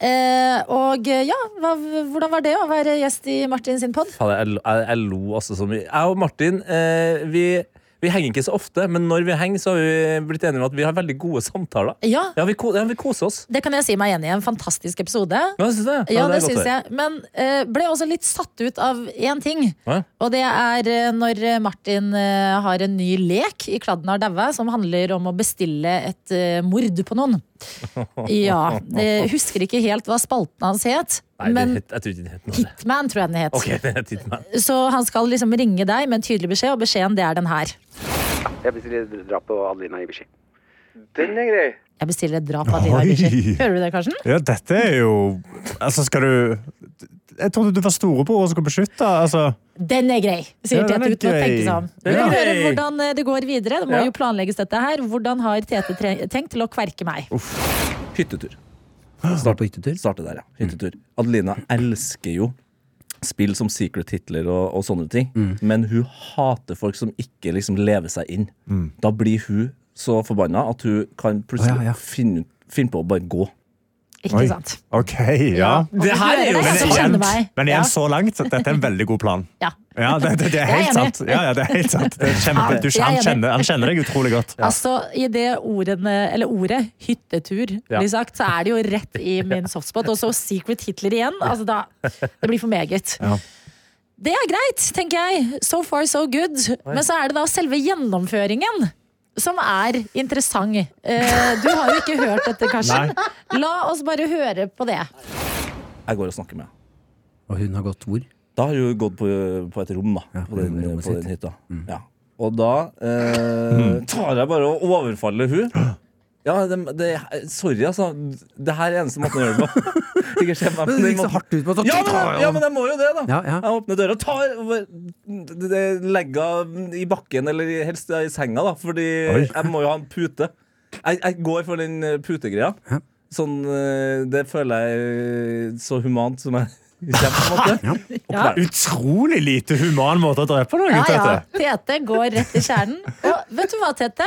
S2: Eh, og eh, ja, hva, hvordan var det å være gjest i Martin sin pod?
S3: Faen, jeg, jeg, jeg lo altså så mye. Jeg og Martin eh, vi, vi henger ikke så ofte, men når vi henger, så har vi blitt enige om at vi har veldig gode samtaler.
S2: Ja,
S3: Ja, vi, ko- ja, vi koser oss.
S2: det kan jeg si meg enig i. En fantastisk episode.
S3: Ja, jeg synes det.
S2: Ja,
S3: er
S2: det
S3: godt å
S2: syns
S3: høre.
S2: jeg. Men eh, ble også litt satt ut av én ting.
S3: Ja.
S2: Og det er eh, når Martin eh, har en ny lek i Kladden har daua, som handler om å bestille et eh, mord på noen. Ja. Jeg husker ikke helt hva spalten hans het,
S3: Nei, det,
S2: men
S3: het- jeg tror ikke det het noe.
S2: Hitman tror jeg den het.
S3: Ok, det het ikke meg.
S2: Så han skal liksom ringe deg med en tydelig beskjed, og beskjeden det er den her.
S10: Jeg bestiller drap på Adelina Ibishi.
S2: Jeg bestiller et drap av Dina Ibishi. Hører du det, Karsten?
S4: Ja, dette er jo Altså, skal du Jeg trodde du var storebror og skulle beskytte. Altså.
S2: Den er grei, sier
S4: Ja, den
S2: Tete
S4: er
S2: uten å
S4: grei.
S2: tenke seg om. Vi
S4: Den er
S2: får høre
S4: grei.
S2: hvordan eh, det går videre. Det må
S3: Ja.
S2: jo planlegges dette her. Hvordan har Tete tre- tenkt til å kverke meg?
S3: Hyttetur. Start på hyttetur? Starte der, ja. Hyttetur. Adelina elsker jo spill som Secret Hitler og, og sånne ting, men hun hater folk som ikke liksom lever seg inn. Da blir hun så forbanna at hun kan plutselig
S4: Å, ja, ja.
S3: Finne, finne på å bare gå.
S2: Ikke
S4: Oi.
S2: sant?
S4: Ok, ja.
S2: Og hvis du hører det
S4: Men
S2: så
S4: igjen,
S2: kjenner meg.
S4: men
S2: Ja.
S4: igjen så langt, dette er en veldig god plan.
S2: Ja.
S4: Ja, det, det, det
S2: Jeg
S4: er
S2: er
S4: helt
S2: enig.
S4: sant. Ja, ja, det er helt sant. Det er kjempe, du, han,
S2: Jeg er enig.
S4: kjenner, han kjenner deg utrolig godt.
S2: Altså, I det ordene, eller ordet 'hyttetur' blir sagt, så er det jo rett i min softspot. Og så Secret Hitler igjen. Altså, da, det blir for meget.
S4: Ja.
S2: Det er greit, tenker jeg. So far, so good. Men så er det da selve gjennomføringen som er interessant. Eh, du har jo ikke hørt dette, Karsten. La oss bare høre på det.
S3: Jeg går og snakker med henne.
S10: Og hun har gått hvor?
S3: Da har hun gått på, på et rom, da.
S10: på
S3: på den,
S10: rommet
S3: på
S10: sitt. Mm.
S3: den hytta. Ja. Og da eh, tar jeg bare og overfaller hun. Ja, det, det, sorry, altså. Det her er eneste måten å gjøre det på. Ikke se meg på
S10: Men det
S3: den
S10: gikk så
S3: måten.
S10: hardt ut på at
S3: Ja, men, ja, men jeg må jo det, da.
S10: Ja, ja.
S3: Jeg åpner døra og tar over- det- det- legger i bakken, eller i- helst i senga, da, fordi
S4: Oi.
S3: jeg må jo ha en pute. Jeg, jeg går for den eh, putegreia.
S10: Ja.
S3: Sånn, eh, det føler jeg eh, så humant som jeg kommer, på en måte. Og
S2: Ja.
S3: kveler.
S4: Utrolig lite human måte å drepe noen,
S2: Ja, ja.
S4: Tete.
S2: Tete går rett i kjernen. Og vet du hva, Tete?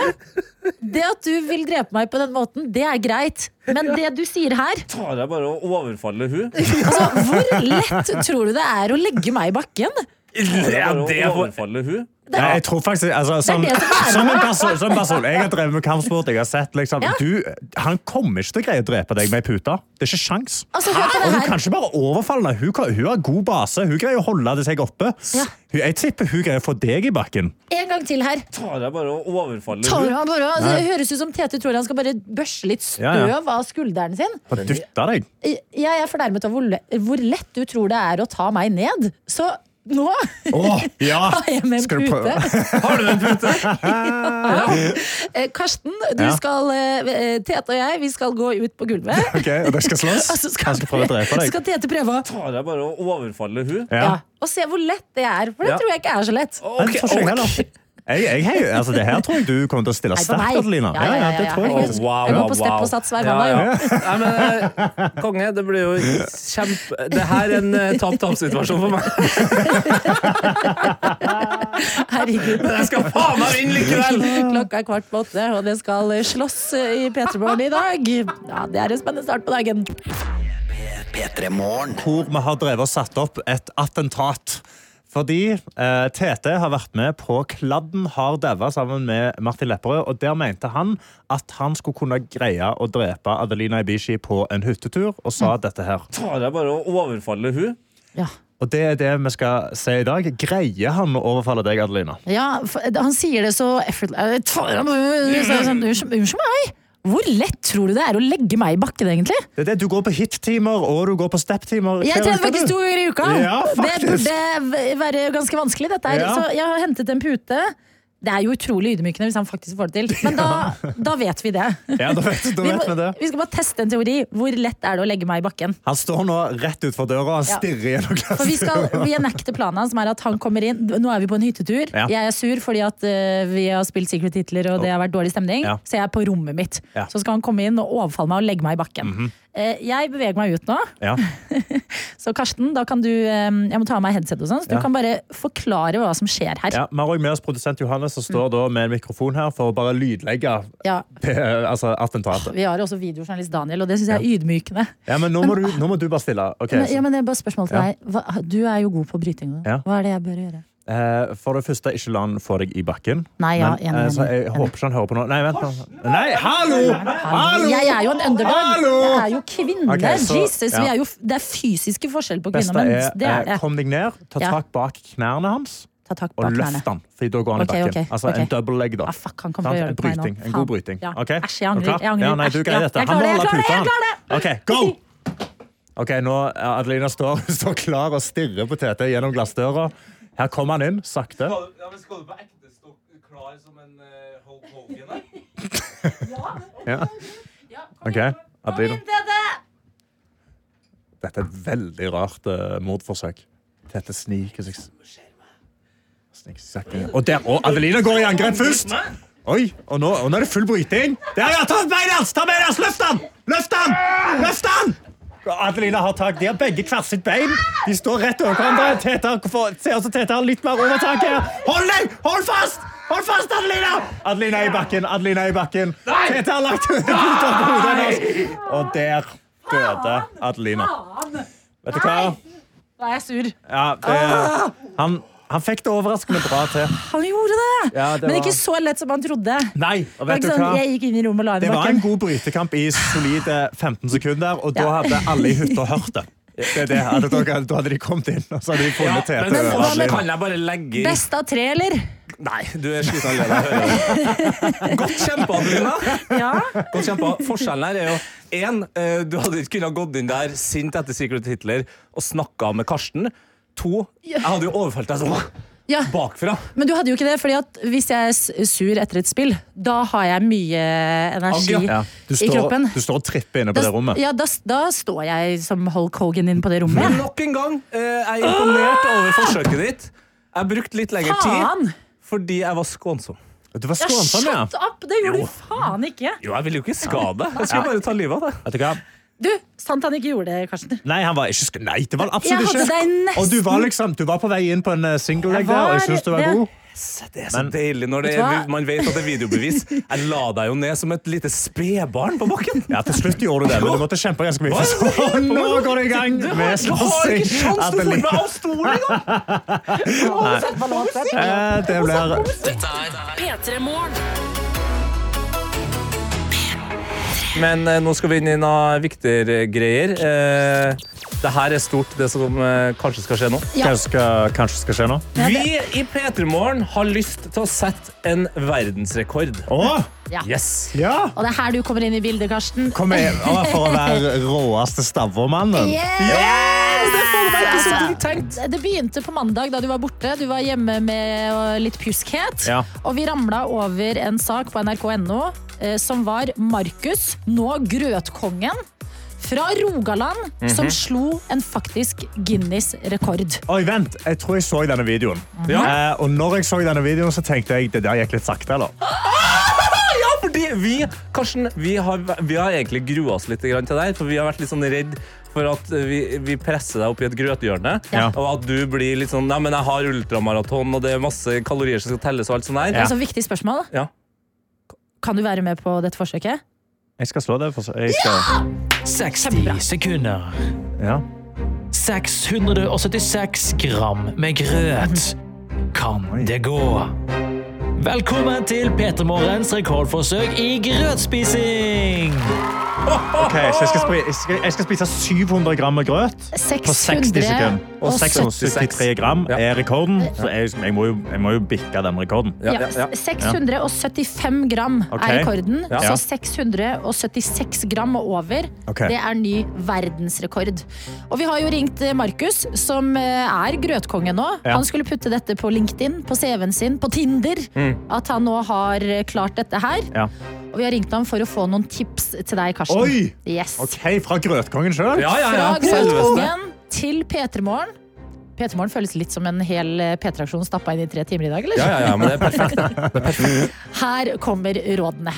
S2: Det at du vil drepe meg på den måten, det er greit. Men det du sier her
S3: tar jeg bare og overfaller hun.
S2: Altså, Hvor lett tror du det er å legge meg i bakken?
S3: Tar jeg bare
S4: det er
S3: og
S4: for-
S3: overfaller hun.
S4: Ja, jeg tror faktisk altså, som,
S2: det som er-
S4: som, en person, som en person Jeg har drevet med kampsport. Jeg har sett, liksom,
S2: Ja.
S4: du, han kommer ikke til å greie å drepe deg med ei pute. Det er ikke sjans.
S2: Altså, hør på det
S4: Og du
S2: her.
S4: kan ikke bare overfalle henne. Hun, kan- hun har god base. Hun greier å holde det seg oppe.
S2: Ja.
S4: Hun, jeg tipper hun greier å få deg i bakken.
S2: En gang til her.
S3: Tar jeg bare og overfaller
S2: Tar
S3: hun.
S2: han bare, altså, det høres ut som Tete tror han skal bare børse litt
S4: Ja, ja.
S2: støv av skulderen sin.
S4: Bare dytte deg.
S2: Jeg er fornærmet av hvor, le hvor lett du tror det er å ta meg ned. Så nå
S4: Åh, ja.
S2: har jeg med
S4: Skal
S2: en
S4: du prøve?
S2: pute.
S3: Har du en pute?
S2: Eh, Karsten, du
S4: Ja.
S2: skal, eh, Tete og jeg, vi skal gå ut på gulvet.
S4: Ok, Og dere skal slåss?
S2: Og så
S4: Han skal prøve å drepe deg?
S2: Altså, skal Tete prøve å
S3: Tar jeg bare og overfaller hun.
S4: Ja.
S2: ja, og se hvor lett det er. For det
S3: Ja.
S2: tror jeg ikke er så lett.
S4: Men for seg heller. Jeg, jeg, heier- altså, det her tror jeg du kommer til å stille
S2: Nei, for
S4: sterkt,
S2: meg.
S4: Adelina.
S2: Ja, ja, ja,
S4: det
S2: ja.
S4: tror jeg.
S2: Herregud. Jeg går på stepp og sats hver mandag, jo.
S3: Nei, men, eh, konge, det blir jo kjempe... Det her er en eh, tap-tap-situasjon for meg.
S2: Herregud.
S3: Men jeg skal faen meg vinne likevel!
S2: Klokka er kvart på åtte, og det skal slåss i P3 Morgen i dag. Ja, Det er en spennende start på dagen.
S5: P3 Morgen.
S4: hvor vi har drevet og satt opp et attentat. Fordi eh, Tete har vært med på Kladden har daua sammen med Martin Lepperød. Og der mente han at han skulle kunne greie å drepe Adelina Ibishi på en hyttetur, og sa
S2: Mm.
S4: dette her.
S3: Tar jeg bare og overfaller hun.
S2: Ja,
S4: Og det er det vi skal se i dag. Greier han å overfalle deg, Adelina?
S2: ja for, eh, Han sier det så Eh, effortless Tar han- så er det sånn, Unnskyld unnskyld meg! Hvor lett tror du det er å legge meg i bakken, egentlig?
S4: Det er det, Du går på hit-timer, og du går på step-timer.
S2: Jeg
S4: Hver
S2: trener
S4: uke,
S2: faktisk
S4: du.
S2: to ganger i uka!
S4: Ja,
S2: det
S4: faktisk.
S2: burde være ganske vanskelig, dette her.
S4: Ja.
S2: Så jeg har hentet en pute. Det er jo utrolig ydmykende hvis han faktisk får det til. Men da, da vet vi det.
S4: Ja, da vet, da
S2: Vi,
S4: vet
S2: må,
S4: vi det.
S2: vi skal bare teste en teori. Hvor lett er det å legge meg i bakken?
S4: Han står nå rett utfor døra og han
S2: Ja.
S4: stirrer gjennom
S2: For vi skal
S4: glassdøra.
S2: reenacte planen hans, som er at han kommer inn. Nå er vi på en hyttetur.
S4: Ja.
S2: Jeg er sur fordi at eh, vi har spilt Secret Hitler og det har vært dårlig stemning.
S4: Ja.
S2: Så jeg er på rommet mitt.
S4: Ja. Mhm.
S2: Så skal han komme inn og overfalle meg og legge meg i bakken. Eh, jeg beveger meg ut nå.
S4: Ja.
S2: Så Karsten, da kan du eh, Jeg må ta av meg headset og sånn, så du
S4: Ja.
S2: kan bare forklare hva som skjer her.
S4: Ja, Vi har også med oss produsent Johannes, som
S2: Mm.
S4: står da med en mikrofon her for å bare lydlegge
S2: Ja.
S4: eh, altså, attentatet.
S2: Vi har også videojournalist Daniel, og det syns jeg er ydmykende.
S4: Ja, men nå må du, nå må du bare stille. Ok,
S2: Men, ja,
S4: så,
S2: men det er bare et spørsmål til
S4: Ja.
S2: deg. Hva, du er jo god på bryting.
S4: Ja.
S2: nå. Hva er det jeg bør gjøre?
S4: eh, for det første, ikke la han få deg i bakken.
S2: Nei, ja,
S4: Men,
S2: enig,
S4: eh, så
S2: enig,
S4: jeg
S2: enig.
S4: håper ikke han hører på nå. Nei, vent nå. Nei, hallo! Hallo!
S2: Jeg er jo en underdog.
S4: Hallo!
S2: Jeg er jo kvinne.
S4: Ok, så-
S2: Jesus, vi
S4: ja.
S2: er jo, det er fysiske forskjell på kvinner
S4: Beste
S2: og menn.
S4: er,
S2: Det er
S4: eh,
S2: det.
S4: kom deg ned, ta
S2: Ja.
S4: tak bak knærne hans,
S2: Ta tak
S4: og
S2: bak
S4: løft
S2: knærne.
S4: han, for da går han
S2: Ok,
S4: i bakken.
S2: ok,
S4: altså
S2: ok.
S4: en double leg, da.
S2: Ah, fuck, han kommer til å
S4: Sant?
S2: gjøre det på meg nå.
S4: bryting, En
S2: Faen.
S4: god bryting.
S2: Ja. Æsj,
S4: Ok?
S2: jeg
S4: Er du
S2: angrer,
S4: klar?
S2: jeg angrer.
S4: Ja, nei, du
S2: Æsj, ja,
S4: greier dette.
S2: jeg
S4: Han
S2: klarer det,
S4: må holde
S2: jeg klarer det,
S4: puta, han. Ok, go! Ok, nå eh, Adelina står, står klar og stirrer på Tete gjennom glassdøra. Her kommer han inn, sakte.
S3: Skal du på ekte stå klar som en Hulk Hogan der?
S4: Ja. Ok, Adelina.
S11: Dette er et veldig rart eh, mordforsøk. Dette sniker seg sniker seg sakte ned. Og der, og Adelina går i angrep først! Oi, og nå, og nå er det full bryting. Der, ja! Ta beinet hans! Ta beinet hans! Løft han! Løft han! Løft han!
S4: Adelina har tak. De har begge hvert sitt bein. De står rett over hverandre. Tete har- får- ser også Tete har litt mer overtak her. Hold deg! Hold fast! Hold fast, Adelina! Adelina er i bakken. Adelina er i bakken. Tete har lagt hodet over hodet hennes. Og der døde Adelina. Vet du hva?
S2: Da er jeg sur.
S4: Ja, det, han, han fikk det overraskende bra til.
S2: Han gjorde det!
S4: Ja, det
S2: Men
S4: var-
S2: ikke så lett som han trodde.
S4: Nei, og
S2: Det var
S4: vet du
S2: ikke sånn,
S4: hva?
S2: jeg gikk inn i rommet og la
S4: Det
S2: henne i
S4: var en
S2: bakken.
S4: god brytekamp i solide 15 sekunder, og da
S2: Ja.
S4: hadde alle i hytta hørt det. Det er det. Hadde dere- Da hadde de kommet inn, og så hadde de funnet
S3: Ja,
S4: Tete.
S3: men
S4: og
S3: hva med-
S4: Adeline.
S3: kan jeg bare legge i-
S2: Best av tre, eller?
S3: Nei, du er sliten allerede. Godt kjempa, Adelina. Godt kjempa. Forskjellen her er jo én, du hadde ikke kunnet gått inn der sint etter Secret Hitler og snakka med Karsten. To, jeg hadde jo overfalt deg sånn
S2: Ja.
S3: bakfra.
S2: Men du hadde jo ikke det, fordi at hvis jeg er s- sur etter et spill, da har jeg mye energi
S4: Ja. Du
S2: i kroppen.
S4: står, du står og tripper inne på det rommet.
S2: Ja, da, da står jeg som Hulk Hogan inn på det rommet.
S3: Men nok en gang, eh, jeg er imponert over forsøket ditt. Jeg brukte litt lengre
S2: Faen!
S3: tid fordi jeg var skånsom.
S4: Du var
S2: Ja, shut up! Det gjorde du faen ikke.
S3: Jo, jeg ville jo ikke skade. deg. Jeg skulle bare ta livet av deg.
S4: Vet du hva?
S2: Du, sant han ikke gjorde det, Karsten.
S4: Nei, han var ikke sk- Nei, det var han
S2: Jeg
S4: absolutt
S2: hadde
S4: ikke.
S2: deg nesten.
S4: Og du var liksom Du var på vei inn på en eh, single leg
S2: Jeg
S4: der, og jeg
S2: var
S4: syns du var
S2: det.
S4: god.
S3: Det er så deilig når det
S2: Vet du
S3: er,
S2: hva?
S3: man vet at det er videobevis. Jeg la deg jo ned som et lite spedbarn på bakken.
S4: Ja, til slutt gjorde du det, men du måtte kjempe ganske mye.
S3: Hva?
S4: Så nå går det i gang
S3: Du
S4: med
S3: har, du
S2: sånn
S3: har
S4: slåssing.
S3: ikke sjans! Du får
S4: Adeline-
S3: meg av stolen engang!
S4: Eh, Det blir
S1: Dette er P3 Morgen.
S3: Men eh, nå skal vi inn i noe viktigere greier. Eh, det her er stort, det som eh, kanskje skal skje nå.
S4: Hva skal, kanskje skal skje nå?
S3: Vi i P3 Morgen har lyst til å sette en verdensrekord.
S4: Å!
S2: Ja.
S3: Yes!
S4: Ja!
S2: Og det er her du kommer inn i bildet, Karsten.
S4: Kom igjen, å, for å være råeste stavvomannen.
S2: Altså, Det begynte på mandag da du var borte. Du var hjemme med øh, litt pjuskhet.
S4: Ja.
S2: Og vi ramla over en sak på nrk.no eh, som var Markus, nå grøtkongen, fra Rogaland,
S4: Mhm.
S2: som slo en faktisk Guinness-rekord.
S4: Oi, vent. Jeg tror jeg så denne videoen. Eh, og når jeg så denne videoen, så tenkte jeg det der gikk litt sakte, eller?
S3: Ja, fordi vi, Karsten, vi har, vi har egentlig grua oss litt grann til deg, for vi har vært litt sånn redd for at eh, vi, vi presser deg opp i et grøthjørne,
S4: Ja.
S3: og at du blir litt sånn, nei, men jeg har ultramaraton, og det er masse kalorier som skal telles og alt sånt der.
S2: Altså, viktig spørsmål.
S3: Ja.
S2: Kan du være med på dette forsøket?
S4: Jeg skal slå det. For, jeg skal,
S12: 60 sekunder.
S4: ja.
S12: 676 gram med grøt. Kan det gå? Velkommen til Peter Morgens rekordforsøk i grøtspising!
S4: Ok, så jeg skal, spri, jeg, skal, jeg skal spise 700 gram med grøt på 60 sekunder. Og 673 gram er rekorden, så jeg, jeg, må, jo, jeg må jo bikke den rekorden.
S2: Ja, 675 gram
S4: Ok.
S2: er rekorden.
S4: Ja.
S2: Så 676 gram og over,
S4: Ok.
S2: det er ny verdensrekord. Og vi har jo ringt eh, Markus, som eh, er grøtkonge nå.
S4: Ja.
S2: Han skulle putte dette på LinkedIn, på CV-en sin, på Tinder.
S4: Mm.
S2: At han nå har eh, klart dette her.
S4: Ja.
S2: Og vi har ringt ham for å få noen tips til deg, Karsten.
S4: Oi!
S2: Yes.
S4: Ok, fra grøtkongen sjøl?
S3: Ja, ja, ja.
S2: Fra Grøtkongen til P3morgen. P3morgen føles litt som en hel eh, P3-aksjon stappa inn i tre timer i dag, eller?
S3: Ja, ja, ja, men det er perfekt.
S2: Her kommer rådene.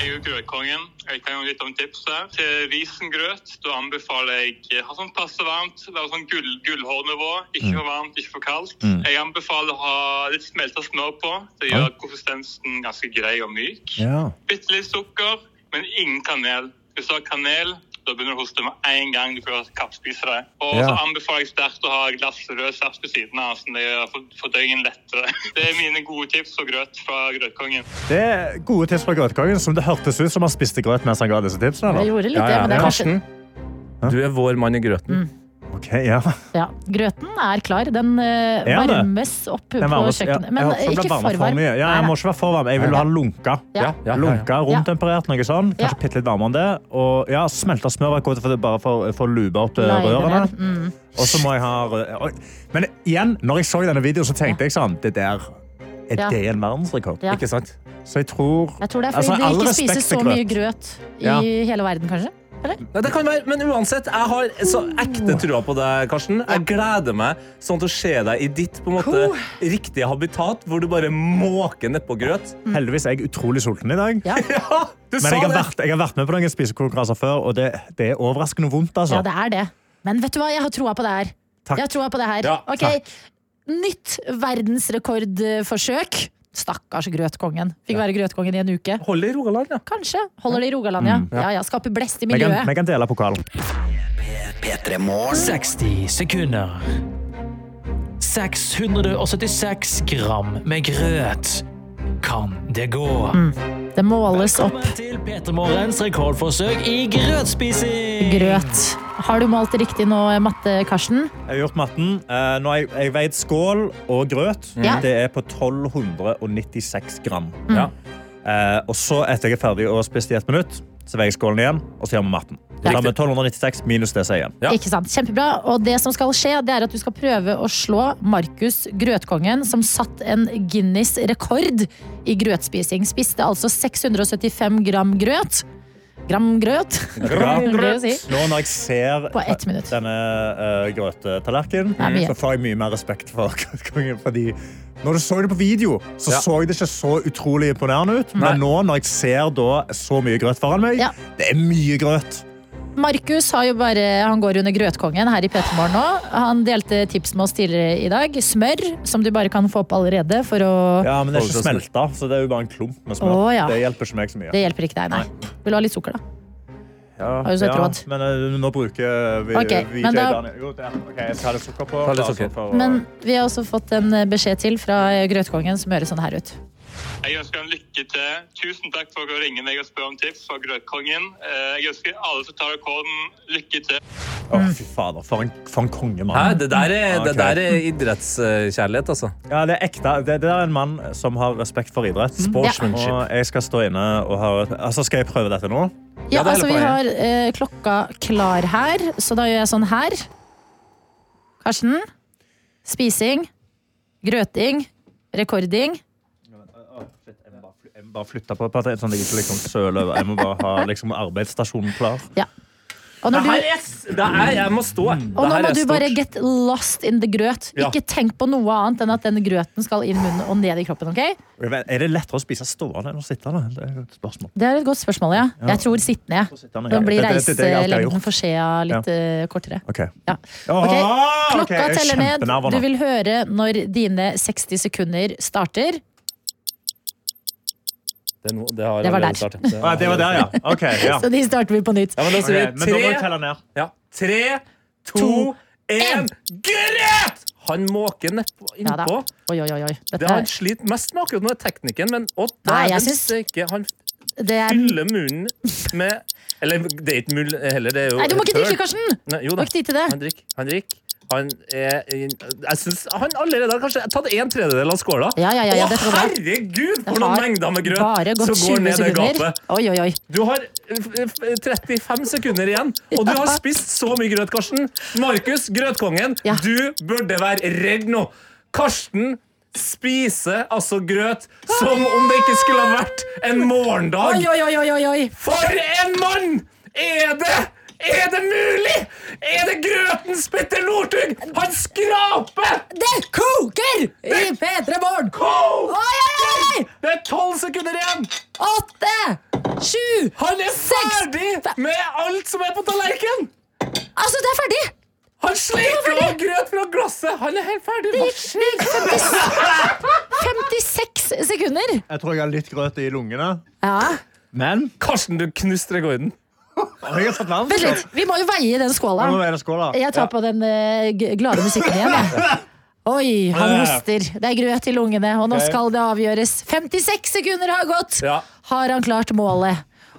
S13: Jeg er jo grøtkongen. Jeg kan jo litt om tipset. Til risengrøt da anbefaler jeg ha sånn passe varmt, være sånn gull, gullhårnivå. Ikke for varmt, ikke for kaldt.
S14: Mm.
S13: Jeg anbefaler å ha litt smelta smør på. Det
S14: Ja.
S13: gjør konsistensen ganske grei og myk.
S4: Ja.
S13: Bitte litt sukker, men ingen kanel. Hvis du har kanel, da begynner du å hoste med en gang du prøver å kappspise det. Og
S4: Ja.
S13: så anbefaler jeg sterkt å ha et glass rød saft ved siden av, så det gjør for- fordøyingen lettere. Det er mine gode tips og grøt fra grøtkongen.
S4: Det er gode tips fra grøtkongen, som det hørtes ut som han spiste grøt mens han ga disse tipsene. eller?
S2: Jeg gjorde litt det, men det er kanskje-
S3: Karsten, du er vår mann i grøten.
S4: Ok, ja.
S2: Ja, grøten er klar. Den eh,
S4: Er det?
S2: varmes opp på
S4: Den varmes- ja,
S2: kjøkkenet.
S4: jeg
S2: Men eh,
S4: håper den
S2: ikke
S4: blir varmet
S2: for varm.
S4: mye. Ja, jeg må ikke være for varm. Jeg vil ha lunka.
S2: Ja. Ja, ja, ja.
S4: Lunka, romtemperert, noe sånn. Kanskje bitte litt varmere enn det. Og ja, smelta smør er godt for, det- bare for, for å lube opp eh,
S2: Leier
S4: rørene.
S2: den. Mm.
S4: Og så må jeg ha rø- Oi. Men igjen, når jeg så denne videoen, så tenkte jeg sånn Det der er
S2: Ja.
S4: det en verdensrekord.
S2: Ja.
S4: Ikke sant? Så jeg tror
S2: Jeg tror det er fordi
S4: Altså, all
S2: de ikke
S4: respekt
S2: spiser
S4: til
S2: så mye grøt i
S4: Ja.
S2: hele verden, kanskje. Eller?
S3: Nei, det kan være, men uansett, jeg har så ekte trua på deg, Karsten. Jeg gleder meg sånn til å se deg i ditt på en måte, riktige habitat, hvor du bare måker nedpå grøt.
S2: Mm.
S4: Heldigvis er jeg utrolig sulten i dag.
S3: Ja, du
S4: Men
S3: sa
S4: jeg har,
S3: det.
S4: vært, jeg har vært med på noen spisekonkurranser før, og det, det er overraskende vondt.
S2: Ja,
S4: Altså.
S2: det er det. Men vet du hva, jeg har troa på det her.
S4: Takk.
S2: Jeg har troa på det her.
S4: Ja,
S2: Ok,
S4: takk.
S2: Nytt verdensrekordforsøk. Stakkars grøtkongen. Fikk være grøtkongen i en uke.
S3: Holder i Rogaland, ja.
S2: Kanskje. Holder det i Rogaland, ja.
S4: Mm, ja.
S2: ja, ja Skaper blest i
S4: Vi kan,
S2: miljøet.
S4: vi kan dele pokalen.
S12: 60 sekunder. 676 gram med grøt. Kan det gå?
S2: Det måles opp.
S12: Velkommen til Peter Morgens rekordforsøk i grøtspising!
S2: Grøt. Har du målt riktig nå, matte, Karsten?
S4: Jeg har gjort matten. Eh, nå har jeg, jeg veid skål og grøt.
S2: Mm. Ja.
S4: Det er på 1296 gram.
S2: Mm.
S4: Ja. Eh, og så etter jeg er ferdig og har spist i ett minutt, så veier jeg skålen igjen og så gjør vi matten. Så
S2: Ja.
S4: da har vi 1296 minus det som er igjen.
S2: Ikke sant? Kjempebra. Og det som skal skje, det er at du skal prøve å slå Markus Grøtkongen, som satt en Guinness-rekord i grøtspising. Spiste altså 675 gram grøt. Gram grøt?
S4: Gram
S2: Blir det å
S4: grøt.
S2: si.
S4: Nå når jeg ser
S2: På ett minutt.
S4: denne eh, grøtetallerkenen,
S2: Det er mye.
S4: så får jeg mye mer respekt for grøtkongen. Fordi når du så det på video, så så det ikke så utrolig imponerende ut.
S2: Nei.
S4: Men nå når jeg ser da så mye grøt foran meg, det er mye grøt.
S2: Markus har jo bare, han går under Grøtkongen her i Petermorgen nå. Han delte tips med oss tidligere i dag. Smør, som du bare kan få på allerede for å
S4: Ja, men det er ikke smelta, så det er jo bare en klump med smør.
S2: Å, ja.
S4: Det hjelper ikke meg så mye.
S2: Det hjelper ikke deg, nei. Vil du ha litt sukker, da?
S4: Ja,
S2: Har du sett
S4: ja,
S2: råd?
S4: men eh, nå bruker vi
S2: Ok,
S4: VJ
S2: men da-
S4: Daniel. Jo, der. Ok, jeg skal ha litt sukker på.
S3: Ta litt
S4: altså,
S3: sukker.
S4: for å-
S2: Men vi har også fått en eh, beskjed til fra Grøtkongen som høres sånn her ut.
S13: Jeg ønsker han lykke til. Tusen takk for å ringe meg og spørre om tips fra Grøtkongen. Eh, Jeg ønsker alle som tar rekorden, lykke til.
S4: Å, fy fader, for en, for en kongemann.
S3: Hæ? Det der er,
S4: Ja,
S3: det
S4: ok.
S3: der er idrettskjærlighet, altså.
S4: Ja, det er ekte. Det, det er en mann som har respekt for idrett.
S2: Mm,
S3: Sportsmanship.
S4: Og jeg skal stå inne og høre altså, Skal jeg prøve dette nå?
S2: Ja, altså vi har eh, klokka klar her, så da gjør jeg sånn her. Karsten. Spising. Grøting. Rekording.
S4: Jeg må bare flytte på på at jeg, sånn at jeg ikke liksom søler over. Jeg må bare ha liksom, arbeidsstasjonen klar.
S2: Og når du,
S3: jeg må stå.
S2: og nå må du bare get lost in the grøt.
S4: Ja.
S2: Ikke tenk på noe annet enn at den grøten skal inn munnen og ned i kroppen. ok?
S4: Jeg vet, Er det lettere å spise stående enn å sittende? Det er jo et spørsmål.
S2: Det er et godt spørsmål, ja.
S4: Ja.
S2: Jeg tror sittende.
S4: ja.
S2: Da blir
S4: Det- det- det- det er alt jeg har gjort.
S2: reiselengden for skjea litt eh, kortere.
S4: Ok.
S2: Ja.
S4: Åh,
S2: Ah, Ok,
S4: ok,
S2: Klokka
S4: jeg er
S2: teller ned.
S4: kjempenervøs
S2: Du
S4: nå.
S2: vil høre når dine 60 sekunder starter.
S3: Det, er no, det, har
S2: Det var
S3: allerede
S2: der.
S3: startet.
S4: Ah, det var der, ja. Ok, ja.
S2: Så de starter vi på nytt.
S3: Ja, men da sier
S4: Ok, men da må
S3: vi
S4: jeg
S3: tre,
S4: telle ned.
S3: ja, tre, to, én Grøt! Han måker nedpå.
S2: Ja da.
S3: Innpå.
S2: Oi, oi, oi. oi.
S3: Det
S2: Dette,
S3: han sliter mest med akkurat nå, er teknikken, men å,
S2: Nei, jeg
S3: dæven
S2: syns-
S3: steike, han
S2: det er
S3: fyller munnen med Eller det er ikke mull heller, det er jo
S2: Nei, du må ikke
S3: høl.
S2: drikke, Karsten!
S3: Nei, jo
S2: Du
S3: da.
S2: må ikke drikke det.
S3: Han drikker. Han drikker. Han er Jeg syns han allerede har kanskje tatt en tredjedel av skåla.
S2: Ja, ja, ja, ja,
S3: Å,
S2: dette var bra.
S3: herregud, for
S2: Det
S3: noen
S2: har
S3: mengder med
S2: bare
S3: grøt
S2: gått
S3: som går
S2: 20
S3: ned det
S2: sekunder.
S3: gapet.
S2: Oi, oi, oi.
S3: Du har eh, f- eh, 35 sekunder igjen, og du har
S2: Ja.
S3: spist så mye grøt, Karsten. Markus, grøtkongen,
S2: Ja.
S3: du burde være redd nå. Karsten spiser altså grøt som om det ikke skulle ha vært en morgendag.
S2: Oi, oi, oi, oi, oi, oi.
S3: For en mann! Er det er det mulig?! Er det grøtens Petter Northug?! Han skraper!
S2: Det koker i P3 Morgen!
S3: Koker!
S2: Oi, oi, oi!
S3: Det er tolv sekunder igjen!
S2: Åtte, sju,
S3: Han er
S2: seks
S3: ferdig med alt som er på tallerkenen!
S2: Altså, det er ferdig!
S3: Han sleiker av grøt fra glasset! Han er helt ferdig. Hva skjer?
S2: 56 sekunder.
S4: Jeg tror jeg har litt grøt i lungene.
S2: Ja.
S4: Men
S3: Karsten, du knuste rekorden.
S4: jeg har satt
S2: Vent litt,
S4: verdensrekord.
S2: vi må jo veie den skåla.
S4: Nå må vi veie den skåla.
S2: Jeg tar
S4: Ja.
S2: på den eh, g- glade musikken igjen. Jeg. Oi, han hoster. Det er grøt i lungene, og nå
S3: Ok.
S2: skal det avgjøres. 56 sekunder har gått!
S3: Ja.
S2: Har han klart målet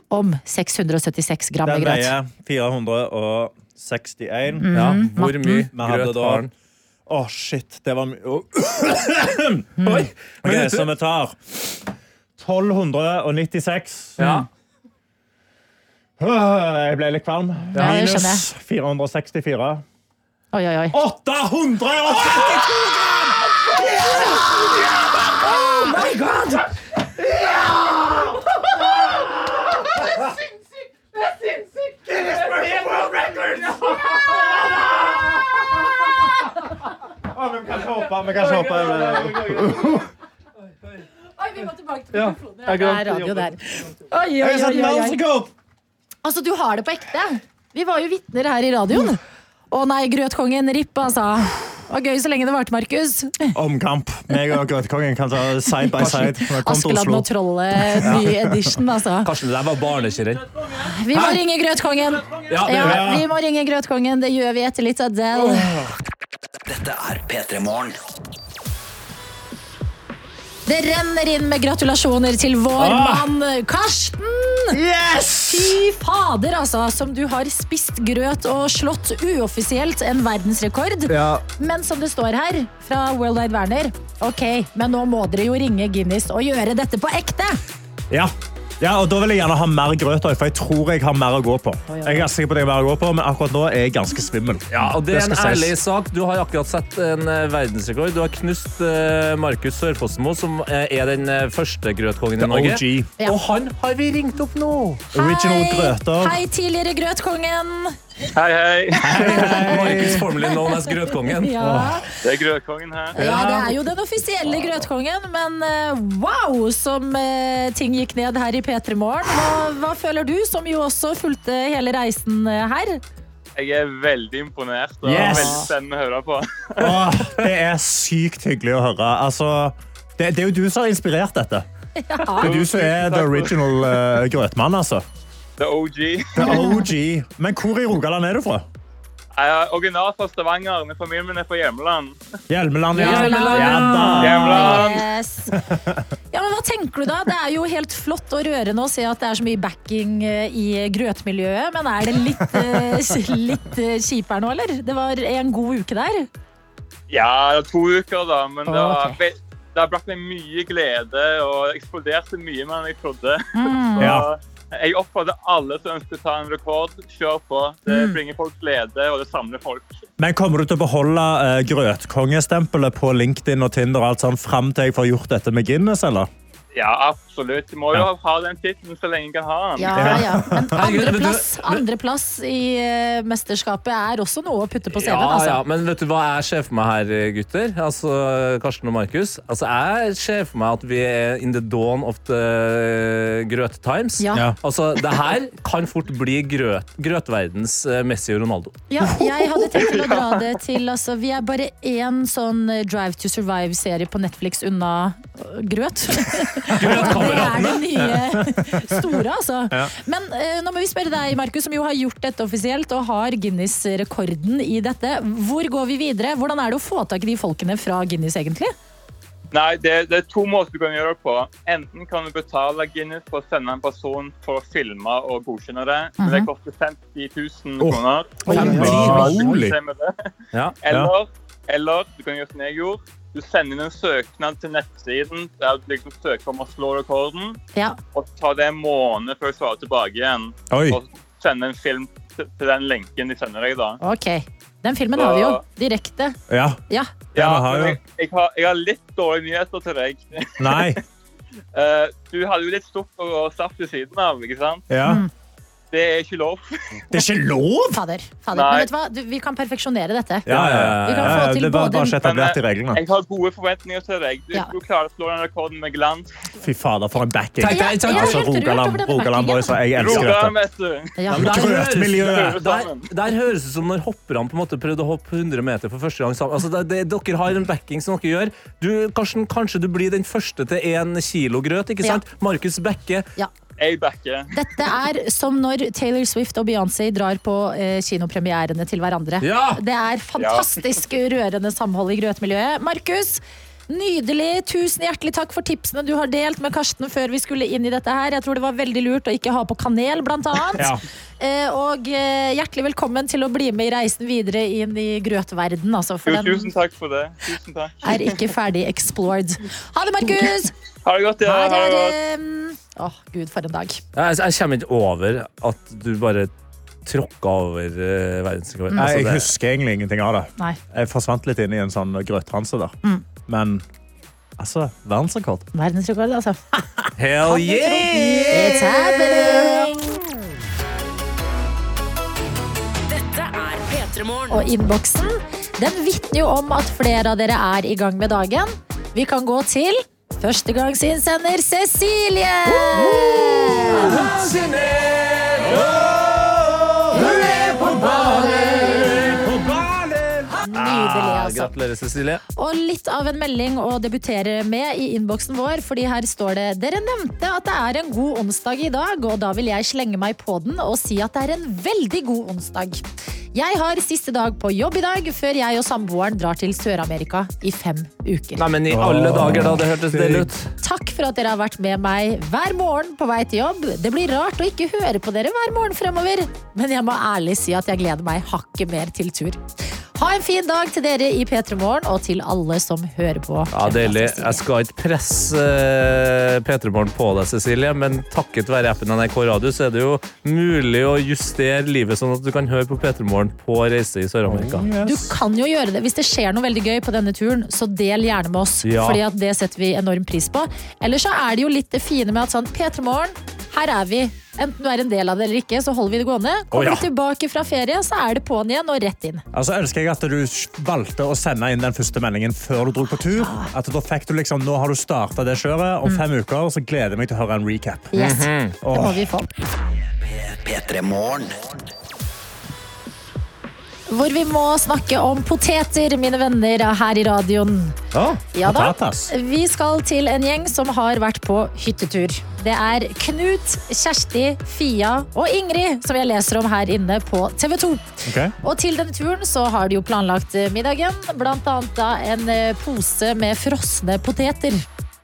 S2: om 676 gram med
S4: Den
S2: grøt? Mm.
S4: veier 461.
S3: Ja, hvor mye
S4: Vi hadde
S3: grøt
S4: da-
S3: har han?
S4: Å, shit. Det var mye
S2: Mm.
S3: Oi! Men
S4: Ok,
S3: vet
S4: så
S3: du,
S4: vi tar 1296.
S3: ja.
S4: Øh, Jeg ble litt kvalm.
S2: Ja, det
S4: Minus 464.
S2: Oi, oi, oi.
S4: 832
S3: Det
S4: vi kan ikke hoppe. Vi kan ikke hoppe.
S2: Oi, vi må tilbake til
S4: Ja,
S2: mikrofonen. Ja, det
S4: jeg glemte
S2: er radio der.
S4: jobben.
S2: Oi, oi,
S4: Jeg har
S2: oi,
S4: satt
S2: oi, oi.
S4: verdensrekord!
S2: Altså, du har det på ekte. Vi var jo vitner her i radioen. Å nei, grøtkongen, ripp, altså. Det var gøy så lenge det varte, Markus.
S4: Omkamp. Meg og Grøtkongen kan ta side by side. Når det kom til
S2: Askeladden
S4: Oslo.
S2: og trollet, ny edition, altså.
S3: Karsten, det der var barnekirurg.
S2: Vi må ringe Grøtkongen.
S3: Ja, det
S2: Ja,
S3: gjør vi.
S2: vi må ringe Grøtkongen. Det gjør vi etter litt Adele.
S5: Dette er P3 Morgen.
S2: Det renner inn med gratulasjoner til vår
S5: Ah.
S2: mann Karsten! Fy fader, altså, som du har spist grøt og slått uoffisielt en verdensrekord.
S4: Ja.
S2: Men som det står her fra World Wide Werner, ok, men nå må dere jo ringe Guinness og gjøre dette på ekte.
S4: Ja. ja, og da vil jeg gjerne ha mer grøt, også, for jeg tror jeg har mer å gå på. Jeg er ganske sikker på at jeg har mer å gå på, Men akkurat nå er jeg ganske svimmel.
S3: Ja, og det er en
S4: skal sies.
S3: ærlig sak. Du har akkurat sett en eh, verdensrekord. Du har knust eh, Markus Sørfossmo, som eh, er den eh, første grøtkongen i
S4: The
S3: Norge.
S4: OG.
S3: Og han har vi ringt opp nå!
S4: Original
S2: Hei.
S4: grøter.
S2: Hei, tidligere Grøtkongen.
S3: Hei, hei! Markus formelig known as Grøtkongen.
S2: Ja.
S13: Det er Grøtkongen her.
S2: Ja, det er jo den offisielle grøtkongen, men eh, wow, som eh, ting gikk ned her i P3 Morgen. Hva, hva føler du, som jo også fulgte hele reisen eh, her?
S13: Jeg er veldig imponert og
S4: Yes!
S13: veldig spennende å høre på.
S4: Åh, det er sykt hyggelig å høre. Altså, det, det er jo du som har inspirert dette. Det er du som er the original eh, grøtmann, altså.
S13: The OG.
S4: The OG. Men hvor i Rogaland er du fra?
S13: Jeg er originalt fra Stavanger, men familien min er fra hjemland.
S4: Hjelmeland, ja.
S13: Hjelmeland,
S4: ja da.
S13: Hjelmeland.
S2: Yes. Ja, men hva tenker du da? Det er jo helt flott og rørende å se at det er så mye backing eh, i grøtmiljøet, men er det litt, eh, litt eh, kjipere nå, eller? Det var en god uke der.
S13: Ja, det er to uker da, men det
S2: Å,
S13: har, ve- det har brakt meg mye glede og eksploderte mye mer enn jeg trodde.
S2: Mm.
S13: Så
S4: Ja.
S13: jeg oppfordrer alle som ønsker å ta en rekord, kjør på. Det
S4: Mm.
S13: bringer folk glede, og det samler folk.
S4: Men kommer du til å beholde uh, grøtkongestempelet på LinkedIn og Tinder og alt sånt, frem til jeg får gjort dette med Guinness, eller?
S13: Ja, absolutt. Du må jo ha den tittelen så lenge jeg kan ha den.
S2: Ja, ja. Men
S3: Herregud, vet du-
S2: andreplass andre plass i eh, mesterskapet er også noe å putte på CV-en,
S3: Ja,
S2: altså.
S3: ja, men vet du hva jeg ser for meg her, gutter? Altså, Karsten og Markus. Altså, jeg ser for meg at vi er in the dawn of the grøt times.
S2: Ja. Ja.
S3: Altså, det her kan fort bli grøt, grøtverdens eh, Messi og Ronaldo.
S2: Ja, jeg hadde tenkt til å dra det til altså, Vi er bare én sånn eh, Drive to Survive-serie på Netflix unna øh, grøt. det er det nye store, altså.
S5: Ja.
S2: Men eh, nå må vi spørre deg, Markus, som jo har gjort dette offisielt og har Guinness-rekorden i dette. Hvor går vi videre? Hvordan er det å få tak i de folkene fra Guinness, egentlig?
S13: Nei, det, det er to måter du kan gjøre det på. Enten kan du betale Guinness for å sende en person for å filme og godkjenne det. Men det
S14: Mhm.
S13: koster 50 000
S14: Åh.
S13: kroner.
S14: Oi, oi,
S13: Ja, det
S14: oi.
S13: stemmer det.
S3: Ja.
S13: Eller, eller du kan gjøre som jeg gjorde. Du sender inn en søknad til nettsiden der du liksom søker om å slå rekorden.
S2: Ja.
S13: Og så tar det en måned før du svarer tilbake igjen.
S2: Oi.
S13: Og sender en film til til den lenken de sender deg, da.
S2: Ok. Den filmen har vi jo. Direkte.
S4: Ja.
S2: Ja.
S13: Ja,
S4: vi har
S13: men
S4: jo.
S13: jeg, jeg, har, jeg har litt dårlige nyheter til deg.
S4: Nei.
S13: Eh, du hadde jo litt sukker og saft ved siden av, ikke sant?
S4: Ja.
S13: Det er ikke lov.
S4: Det er ikke lov!
S2: Fader. Fader.
S13: Nei.
S2: Men vet du hva? Du, vi kan perfeksjonere dette.
S4: Ja, ja, ja,
S2: Vi kan
S4: ja,
S2: få
S4: ja,
S2: til
S4: det var
S2: både
S4: bare å sette etablert i
S13: Men, eh,
S4: reglene.
S13: Jeg har gode forventninger til deg. Du,
S2: Ja.
S13: du klarer å slå den rekorden med glans.
S4: Fy fader, for en backing.
S13: Tenk deg- tenk deg-
S4: Altså,
S13: jeg er helt rørt over
S4: Rogaland,
S13: denne
S4: Rogaland boys, og jeg elsker
S13: Rogaland,
S4: dette.
S13: vet du.
S4: Ja, men der høres- Grøtmiljøet.
S3: Der, der høres det ut som når hopperne på en måte prøvde å hoppe 100 meter for første gang sammen. Altså, det, det, dere har en backing som dere gjør. Du, Karsten, kanskje du blir den første til én kilo grøt, ikke sant? Markus Bekke.
S13: Jeg backer.
S2: Dette er som når Taylor Swift og Beyoncé drar på eh, kinopremierene til hverandre.
S3: Ja!
S2: Det er fantastisk rørende samhold i grøtmiljøet. Markus, nydelig. Tusen hjertelig takk for tipsene du har delt med Karsten før vi skulle inn i dette her. Jeg tror det var veldig lurt å ikke ha på kanel, blant annet.
S4: Ja.
S2: Eh, og eh, hjertelig velkommen til å bli med i reisen videre inn i grøtverden, altså. For
S13: Jo,
S2: den
S13: tusen takk for det. Tusen takk.
S2: er ikke ferdig explored. Ha det, Markus!
S13: Ha det godt, ja.
S2: Ha det,
S13: Ha det
S2: ha
S13: godt.
S2: det. Å, gud, for en dag.
S3: Jeg, jeg kommer ikke over at du bare tråkka over uh, verdensrekorden.
S4: Mm. Nei,
S3: Altså,
S4: jeg
S3: det-
S4: husker egentlig ingenting av det.
S2: Nei.
S4: Jeg forsvant litt inn i en sånn grøttranse der.
S2: Mm.
S4: Men altså, verdensrekord.
S2: Verdensrekord, altså.
S3: Hell
S2: It's happening!
S1: Dette er P3 Morgen.
S2: og innboksen. Den vitner jo om at flere av dere er i gang med dagen. Vi kan gå til førstegangsinnsender Cecilie!
S3: Hun er på
S2: ballen!
S3: På ballen!
S2: Nydelig,
S3: Ah,
S2: altså.
S3: Gratulerer, Cecilie.
S2: Og litt av en melding å debutere med i innboksen vår, fordi her står det Dere nevnte at det er en god onsdag i dag, og da vil jeg slenge meg på den og si at det er en veldig god onsdag. Jeg har siste dag på jobb i dag, før jeg og samboeren drar til Sør-Amerika i fem uker.
S3: Nei, men i alle dager, da. Det hørtes del ut.
S2: Takk for at dere har vært med meg hver morgen på vei til jobb. Det blir rart å ikke høre på dere hver morgen fremover, men jeg må ærlig si at jeg gleder meg hakket mer til tur. Ha en fin dag til dere i P3 Morgen, og til alle som hører på.
S3: Ja, Deilig. Jeg skal ikke presse eh, P3 Morgen på deg, Cecilie, men takket være appen NRK Radio så er det jo mulig å justere livet sånn at du kan høre på P3 Morgen på reise i Sør-Amerika.
S2: Du kan jo gjøre det. Hvis det skjer noe veldig gøy på denne turen, så del gjerne med oss.
S3: Ja.
S2: Fordi at det setter vi enorm pris på. Eller så er det jo litt det fine med at sånn, P3 Morgen, her er vi. Enten du er en del av det eller ikke, så holder vi det gående.
S4: Å,
S2: Kommer
S4: ja.
S2: du tilbake fra ferie, så er det på'n igjen og rett inn.
S4: Altså, ønsker jeg at du valgte å sende inn den første meldingen før du dro på tur. At da fikk du liksom, Nå har du starta det
S2: Mm.
S4: kjøret. Om fem uker så gleder jeg meg til å høre en recap.
S5: Yes,
S4: Mhm.
S5: det må
S4: Åh.
S2: vi få.
S5: P3 Morgen.
S2: Hvor vi må snakke om poteter, mine venner, her i radioen.
S4: Ah,
S2: Ja da. Vi skal til en gjeng som har vært på hyttetur. Det er Knut, Kjersti, Fia og Ingrid som jeg leser om her inne på TV 2. Og til denne turen så har de jo planlagt eh, middagen, blant annet da en eh, pose med frosne poteter.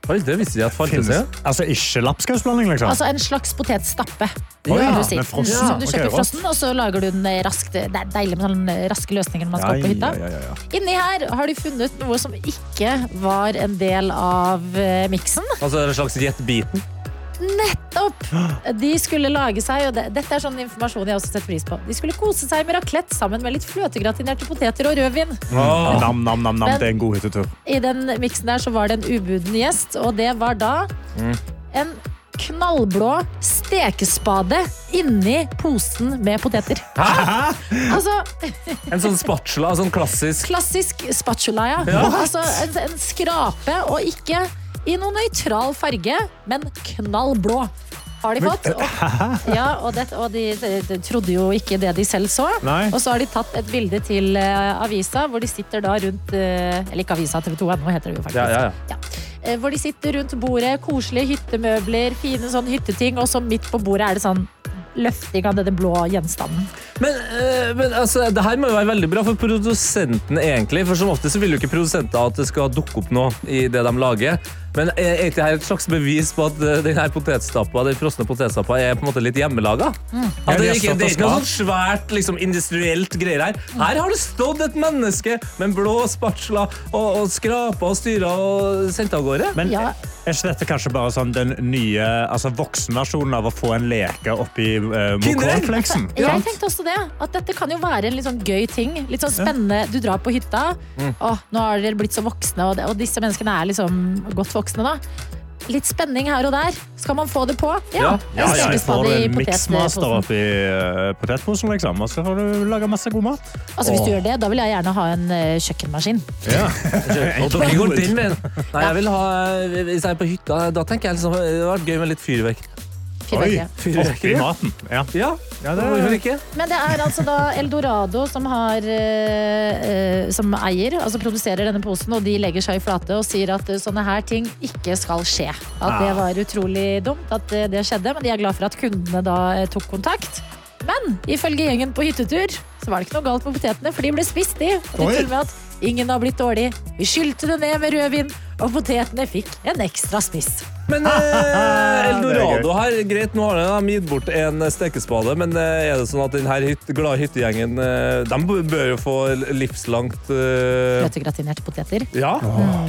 S3: Oi, det visste jeg at fantes. ja.
S4: Altså ikke lapskausblanding, liksom?
S2: Altså en slags potetstappe.
S4: Å ja,
S2: kan du si.
S4: med frossen.
S2: Mm, Som du
S4: Ok,
S2: kjøper
S4: rått.
S2: frossen, og så lager du den eh, raskt. Det er deilig med sånne eh, raske løsninger når man skal opp på hytta. Inni her har de funnet noe som ikke var en del av eh, miksen.
S3: Altså en slags jetbiten.
S2: Nettopp! De skulle lage seg, og det, dette er sånn informasjon jeg også setter pris på. De skulle kose seg med raclette sammen med litt fløtegratinerte poteter og rødvin.
S4: Mm. Nam, nam, nam, nam.
S2: Ah. Men-
S4: Det er en god hyttetur.
S2: I den miksen der så var det en ubuden gjest, og det var da
S4: Mm.
S2: en knallblå stekespade inni posen med poteter.
S3: Hæ?
S2: Altså,
S3: En sånn spatula, sånn klassisk.
S2: klassisk spatula, ja.
S3: Ja.
S2: Altså en, en skrape, og ikke i noen nøytral farge, men knallblå. Har de fått? Og ja, og, det, og de, de trodde jo ikke det de selv så.
S4: Nei.
S2: Og så har de tatt et bilde til eh, avisa, hvor de sitter da rundt eh, Eller ikke avisa, TV 2, nå heter det jo faktisk.
S3: Ja, ja, ja.
S2: Eh, hvor de sitter rundt bordet, koselige hyttemøbler, fine sånn hytteting, og så midt på bordet er det sånn løfting av denne blå gjenstanden.
S3: Men, eh, men altså, det her må jo være veldig bra for produsenten, egentlig. For som ofte så vil jo ikke produsenter at det skal dukke opp noe i det de lager. Men eh, er er ikke dette et slags bevis på at eh, den her potetstappa, den frosne potetstappa er på en måte litt hjemmelaga?
S4: Mm. Ja,
S3: At
S4: de
S3: det,
S4: har
S3: ikke,
S4: stått
S3: det
S4: og
S3: er ikke noe sånn svært liksom, industrielt greier her.
S4: Mm.
S3: Her har det stått et menneske med en blå spatula og, og skrapa og styra og sendt av gårde.
S4: Men er ikke dette kanskje bare sånn den nye altså voksenversjonen av å få en leke oppi uh, mokorfleksen?
S2: Jeg tenkte også det, at dette kan jo være en litt sånn gøy ting. Litt sånn spennende. Du drar på hytta.
S4: Mm.
S2: Åh, nå har dere blitt så voksne, og, det, og disse menneskene er liksom godt voksne da. Litt spenning her og der. Skal man få det på?
S4: Ja, ja, ja,
S2: stekespade
S4: jeg får
S2: i
S4: en
S2: potetposen.
S4: mixmaster oppi uh, potetposen, liksom. Og så får du lage masse god mat.
S2: Altså, hvis du
S4: Åh.
S2: gjør det, da vil jeg gjerne ha en eh, kjøkkenmaskin.
S4: Ja.
S3: Og da går den veien. Nei, jeg vil ha, eh, hvis jeg er på hytta, da tenker jeg liksom, det hadde vært gøy med litt fyrverkeri.
S2: Fyrverkeri.
S3: Oi, fyrverkeri.
S4: Oppi maten. Ja.
S3: det- Hvorfor ikke?
S2: Men det er altså da Eldorado som har eh, eh, Som eier, altså produserer denne posen, og de legger seg i flate og sier at eh, sånne her ting ikke skal skje. At det
S1: Ah.
S2: var utrolig dumt at eh, det skjedde, men de er glad for at kundene da eh, tok kontakt. Men ifølge gjengen på hyttetur så var det ikke noe galt med potetene, for de ble spist, de. Og de
S1: Oi.
S2: tuller med at ingen har blitt dårlig. Vi skylte det ned med rødvin, og potetene fikk en ekstra spiss.
S3: Men Eh, Eldorado her, greit, nå har de gitt bort en stekespade, men eh, er det sånn at den her hyt, glade hyttegjengen eh, De b- bør jo få livslangt eh,
S2: Fløtegratinerte poteter.
S3: Ja.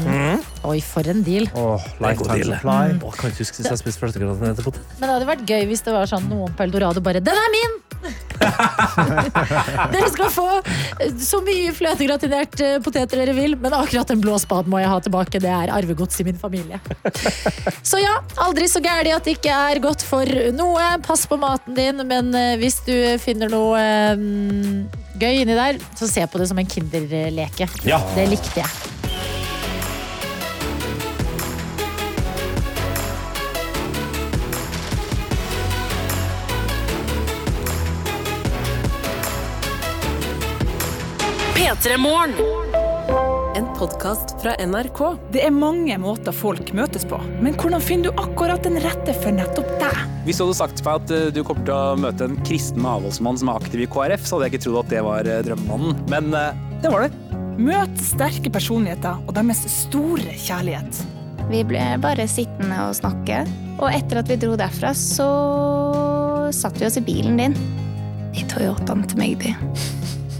S3: Mm.
S2: Oi, for en deal.
S3: Det er en god
S4: lifetime
S3: deal.
S4: supply.
S3: Å, kan ikke huske sist jeg spiste fløtegratinerte poteter.
S2: Men det hadde vært gøy hvis det var sånn noen på Eldorado bare Den er min! Dere skal få eh, så mye fløtegratinert eh, poteter dere vil, men akkurat en blå spad må jeg ha tilbake. Det er arvegods i min familie. Så ja, aldri så gæli at det ikke er godt for noe. Pass på maten din, men eh, hvis du finner noe eh, gøy inni der, så se på det som en kinderleke.
S3: Ja.
S2: Det likte jeg.
S1: P3-morgen. En podkast fra NRK. Det er mange måter folk møtes på, men hvordan finner du akkurat den rette for nettopp deg?
S10: Hvis du hadde sagt meg at eh, du kommer til å møte en kristen avholdsmann som er aktiv i KrF, så hadde jeg ikke trodd at det var eh, drømmemannen. Men eh, det var det.
S1: Møt sterke personligheter og deres store kjærlighet.
S14: Vi ble bare sittende og snakke. Og etter at vi dro derfra, så satt vi oss i bilen din. I Toyotaen til meg, de.